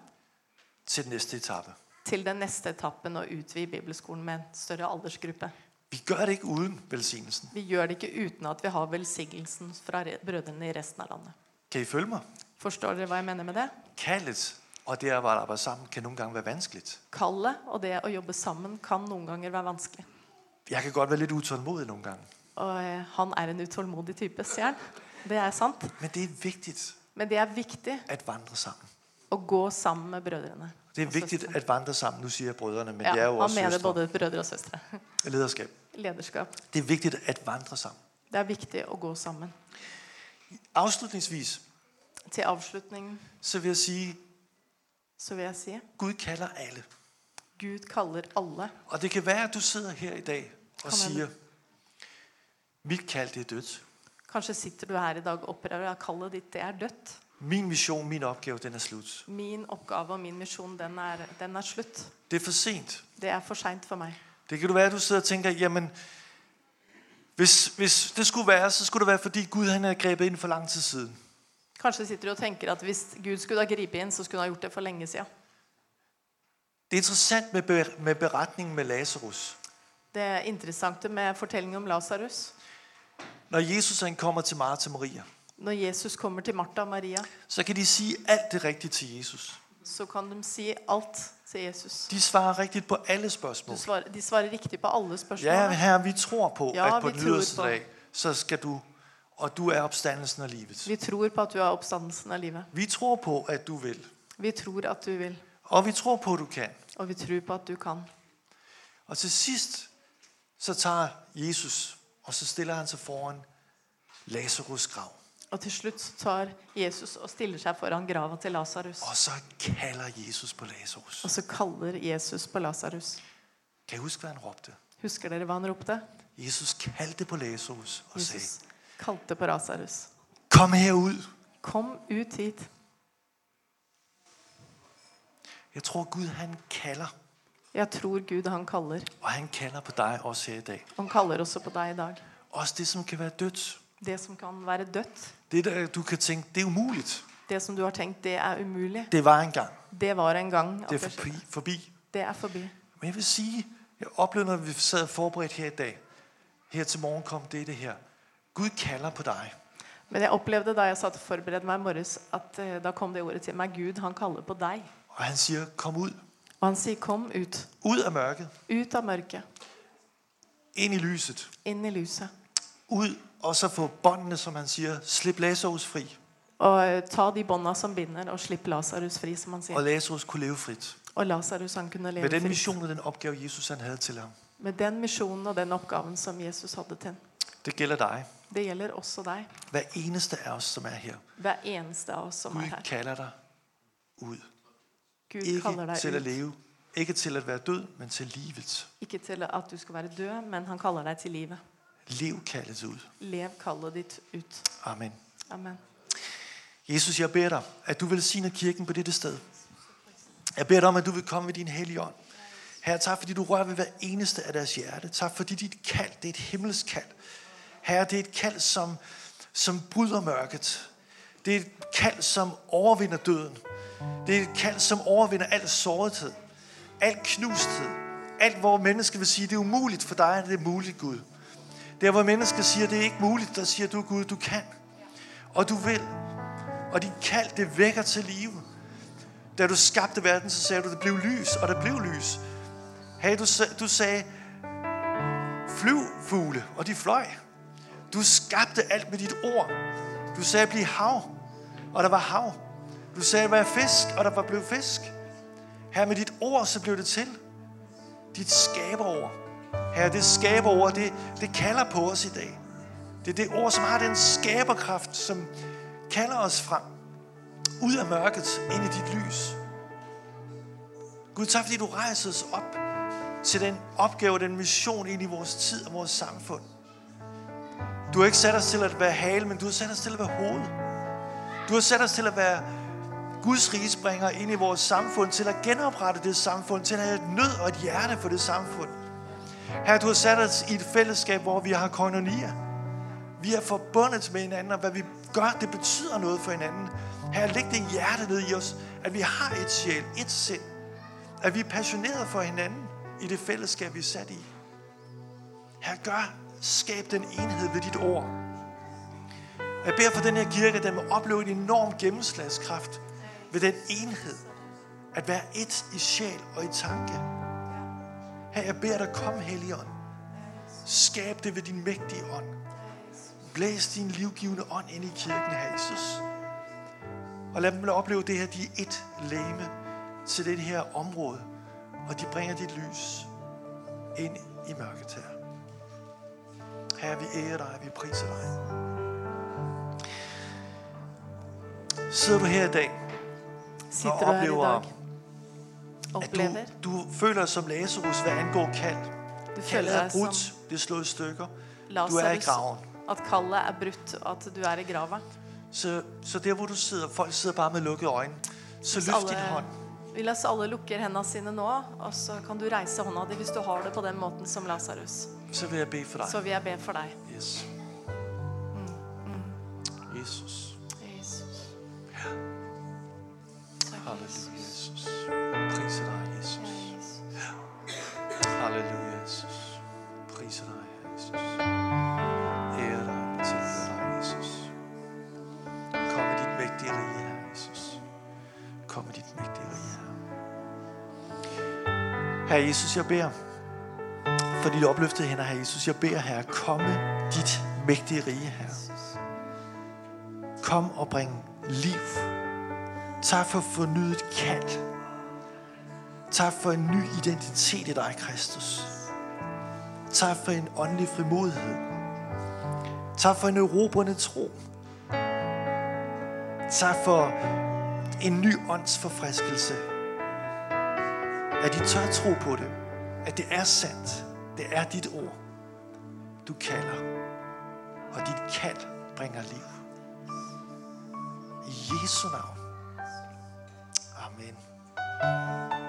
[SPEAKER 1] til næste etape.
[SPEAKER 2] til den neste etappen å utvide bibelskolen med en større aldersgruppe.
[SPEAKER 1] Vi gør det ikke uden velsignelsen.
[SPEAKER 2] Vi gjør det ikke uten at vi har velsignelsen fra re- brødrene i resten av landet.
[SPEAKER 1] Kan I følge mig?
[SPEAKER 2] Forstår dere hva jeg mener med det?
[SPEAKER 1] Kaldet og det at arbejde sammen kan nogle gange være vanskeligt.
[SPEAKER 2] Kallet og det å jobbe sammen kan noen ganger være vanskelig.
[SPEAKER 1] Jeg kan godt være lidt utålmodig nogle gange,
[SPEAKER 2] Og eh, han er en utålmodig type, sier han. Det er sant.
[SPEAKER 1] men det er vigtigt
[SPEAKER 2] Men det er viktig
[SPEAKER 1] at vandre sammen.
[SPEAKER 2] å gå sammen med brødrene.
[SPEAKER 1] Det er
[SPEAKER 2] og
[SPEAKER 1] vigtigt
[SPEAKER 2] søstre.
[SPEAKER 1] at vandre sammen. Nu siger jeg brødrene, men jeg er
[SPEAKER 2] Ja,
[SPEAKER 1] jo
[SPEAKER 2] han
[SPEAKER 1] også
[SPEAKER 2] mener
[SPEAKER 1] søstre.
[SPEAKER 2] både brødre og søstre.
[SPEAKER 1] Lederskab.
[SPEAKER 2] Lederskap.
[SPEAKER 1] Det er vigtigt at vandre sammen.
[SPEAKER 2] Det er viktig å gå sammen.
[SPEAKER 1] Afslutningsvis
[SPEAKER 2] Til avslutning
[SPEAKER 1] så vil jeg sige,
[SPEAKER 2] så vil jeg si
[SPEAKER 1] Gud kalder alle.
[SPEAKER 2] Gud kaller alle.
[SPEAKER 1] Og det kan være, at du sidder her i dag og
[SPEAKER 2] Kom, Anne.
[SPEAKER 1] siger, mit kald det er dødt.
[SPEAKER 2] Kanskje sitter du her i dag og opplever at kallet ditt det er dødt.
[SPEAKER 1] Min mission, min opgave, den er slut.
[SPEAKER 2] Min oppgave og min misjon, den er, den er slutt.
[SPEAKER 1] Det er for sent.
[SPEAKER 2] Det er for seint for meg.
[SPEAKER 1] Det kan du være, at du sidder og tænker, jamen, hvis, hvis det skulle være, så skulle det være, fordi Gud han havde grebet ind for lang tid siden.
[SPEAKER 2] Kanskje sitter du og tenker at hvis Gud skulle ha gripet inn, så skulle han ha gjort det for lenge siden.
[SPEAKER 1] Det er interessant med, ber- med beretningen med Lazarus.
[SPEAKER 2] Det interessante med fortellingen om Lasarus
[SPEAKER 1] Når Jesus han kommer til Martha og Maria,
[SPEAKER 2] Når Jesus kommer til Martha og Maria,
[SPEAKER 1] så kan de sige alt det rigtige til Jesus.
[SPEAKER 2] så kan de si alt til Jesus.
[SPEAKER 1] De svarer rigtigt på alle
[SPEAKER 2] Du
[SPEAKER 1] spørgsmål.
[SPEAKER 2] svarer, de svarer riktig på alle
[SPEAKER 1] Ja,
[SPEAKER 2] spørsmålene.
[SPEAKER 1] her vi tror på,
[SPEAKER 2] Ja,
[SPEAKER 1] at på
[SPEAKER 2] vi
[SPEAKER 1] den
[SPEAKER 2] tror
[SPEAKER 1] yderste
[SPEAKER 2] på.
[SPEAKER 1] dag, så skal du, og du er opstandelsen og livet.
[SPEAKER 2] Vi tror på at du er oppstandelsen av livet.
[SPEAKER 1] Vi tror på, at du vil.
[SPEAKER 2] Vi tror at du vil,
[SPEAKER 1] Og vi tror på, at du kan.
[SPEAKER 2] og vi tror på at du kan.
[SPEAKER 1] Og til sidst, så tager Jesus, og så stiller han sig foran Lazarus grav.
[SPEAKER 2] Og til slutt så tar Jesus og stiller seg foran grava til Lasarus.
[SPEAKER 1] Og så kalder Jesus på Lazarus.
[SPEAKER 2] Og så kaller Jesus på Lasarus.
[SPEAKER 1] Kan I huske, hvad han råbte?
[SPEAKER 2] Husker dere hva han ropte?
[SPEAKER 1] Jesus kaldte på Lazarus og sagde,
[SPEAKER 2] Jesus kalte på Rasarus.
[SPEAKER 1] Kom herud.
[SPEAKER 2] Kom ut hit.
[SPEAKER 1] Jeg tror Gud han kalder,
[SPEAKER 2] Jeg tror Gud han kaller.
[SPEAKER 1] og han kalder på dig også her i dag.
[SPEAKER 2] Han kaller også på deg i dag.
[SPEAKER 1] Også det, som kan være dødt.
[SPEAKER 2] Det som kan være dødt,
[SPEAKER 1] Det der, du kan tænke, det er umuligt.
[SPEAKER 2] det som du har tenkt, det er umulig.
[SPEAKER 1] Det var engang.
[SPEAKER 2] Det var en gang. at
[SPEAKER 1] Det er
[SPEAKER 2] det skjedde.
[SPEAKER 1] forbi. forbi.
[SPEAKER 2] Det er forbi.
[SPEAKER 1] Men jeg vil sige, jeg oplevede, når vi sad forberedt her i dag, her til morgen kom det, det her. Gud kalder på dig.
[SPEAKER 2] Men jeg opplevde da jeg satt og forberedte meg i morges, at eh, da kom det ordet til meg. Gud, han kaller på deg.
[SPEAKER 1] Og han siger, kom ud.
[SPEAKER 2] Og han sier, kom ut.
[SPEAKER 1] Ud af mørket.
[SPEAKER 2] Ut av mørket.
[SPEAKER 1] Ind i lyset.
[SPEAKER 2] Inn i lyset.
[SPEAKER 1] Ud, og så få båndene, som han siger, slip Lazarus fri.
[SPEAKER 2] Og eh, ta de bånda som binder, og slipp Lasarus fri, som han
[SPEAKER 1] Og
[SPEAKER 2] sier.
[SPEAKER 1] Lazarus kunne leve frit.
[SPEAKER 2] Og Lasarus, han kunne
[SPEAKER 1] Med
[SPEAKER 2] leve
[SPEAKER 1] den
[SPEAKER 2] fritt.
[SPEAKER 1] mission og den opgave, Jesus han havde til ham.
[SPEAKER 2] Med den misjonen og den oppgaven som Jesus hadde til. ham.
[SPEAKER 1] Det gælder dig.
[SPEAKER 2] Det gjelder også deg.
[SPEAKER 1] Hver eneste af os, som er her.
[SPEAKER 2] Hver eneste av oss som er
[SPEAKER 1] Gud
[SPEAKER 2] her.
[SPEAKER 1] kalder dig ud.
[SPEAKER 2] Gud kaller
[SPEAKER 1] Ikke til at
[SPEAKER 2] deg ut.
[SPEAKER 1] leve. Ikke til at være død, men til livet.
[SPEAKER 2] Ikke til at du skal være død, men han kaller deg til livet.
[SPEAKER 1] Lev kaldet ud.
[SPEAKER 2] Lev kallet ditt ut.
[SPEAKER 1] Amen.
[SPEAKER 2] Amen.
[SPEAKER 1] Jesus, jeg beder dig, at du velsigner kirken på dette sted. Jeg beder dig om, at du vil komme ved din hellige ånd. Herre, tak fordi du rører ved hver eneste af deres hjerte. Tak fordi dit kald, det er et himmelsk kald. Herre, det er et kald, som, som bryder mørket. Det er et kald, som overvinder døden. Det er et kald, som overvinder al sårethed, al knusthed, alt, hvor mennesker vil sige, det er umuligt for dig, er det muligt, Gud. Der, hvor mennesker siger, det er ikke muligt, der siger du, Gud, du kan. Og du vil. Og dit kald, det vækker til liv. Da du skabte verden, så sagde du, det blev lys, og det blev lys. Hey, du, sa- du sagde, flyv fugle, og de fløj. Du skabte alt med dit ord. Du sagde, bliv hav, og der var hav. Du sagde, vær fisk, og der var blev fisk. Her med dit ord, så blev det til. Dit skaberord. Herre, det skaberord, det, det kalder på os i dag. Det er det ord, som har den skaberkraft, som kalder os frem. Ud af mørket, ind i dit lys. Gud, tak fordi du rejser os op til den opgave, den mission ind i vores tid og vores samfund. Du har ikke sat os til at være hale, men du har sat os til at være hoved. Du har sat os til at være Guds rigesbringer ind i vores samfund, til at genoprette det samfund, til at have et nød og et hjerte for det samfund. Her du har sat os i et fællesskab, hvor vi har koinonier. Vi er forbundet med hinanden, og hvad vi gør, det betyder noget for hinanden. Her læg det hjerte ned i os, at vi har et sjæl, et sind. At vi er passionerede for hinanden i det fællesskab, vi er sat i. Her gør, skab den enhed ved dit ord. Jeg beder for den her kirke, at den må opleve en enorm gennemslagskraft ved den enhed. At være et i sjæl og i tanke. Her jeg beder dig, kom Helligånd. Skab det ved din mægtige ånd. Blæs din livgivende ånd ind i kirken, Herre Jesus. Og lad dem opleve det her, de er et læme til det her område. Og de bringer dit lys ind i mørket her. Herre, vi ærer dig, vi priser dig. Sidder du her i dag, og
[SPEAKER 2] Sitter du her i
[SPEAKER 1] oplever,
[SPEAKER 2] dag?
[SPEAKER 1] at du,
[SPEAKER 2] Opplever.
[SPEAKER 1] du føler dig som Lazarus, hvad angår kald.
[SPEAKER 2] Du føler
[SPEAKER 1] Kaldet er
[SPEAKER 2] deg som
[SPEAKER 1] brudt, det er slået i stykker. Du er i
[SPEAKER 2] Lazarus.
[SPEAKER 1] graven.
[SPEAKER 2] At kallet er brutt, og at du er i grava.
[SPEAKER 1] Så, så der, hvor du sidder, folk sidder bare med lukkede øjne, så
[SPEAKER 2] Hvis
[SPEAKER 1] løft din hånd.
[SPEAKER 2] vi la oss alle lukker hendene sine nå, og så kan du reise hånda di hvis du har det på den måten som Lasarus.
[SPEAKER 1] Så vil jeg bede for dig.
[SPEAKER 2] Så vil jeg be for deg.
[SPEAKER 1] Yes. Jesus.
[SPEAKER 2] Jesus. Takk, Jesus.
[SPEAKER 1] Halleluja, Jesus. Priser dig, Jesus. Halleluja, Jesus. Priser dig, Jesus.
[SPEAKER 2] Ja, Jesus.
[SPEAKER 1] Ære dig, og tilbeder dig, Jesus. Kom med dit mægtige rige, Herre Jesus. Kom med dit mægtige rige, Herre. Herre Jesus, jeg beder for dit opløftede hænder, Herre Jesus. Jeg beder, Herre, kom med dit mægtige rige, Herre. Kom og bring liv. Tak for fornyet kald. Tak for en ny identitet i dig, Kristus. Tak for en åndelig frimodighed. Tak for en erobrende tro. Tak for en ny åndsforfriskelse. At de tør tro på det. At det er sandt. Det er dit ord. Du kalder. og dit kald bringer liv. I Jesu navn. Amen.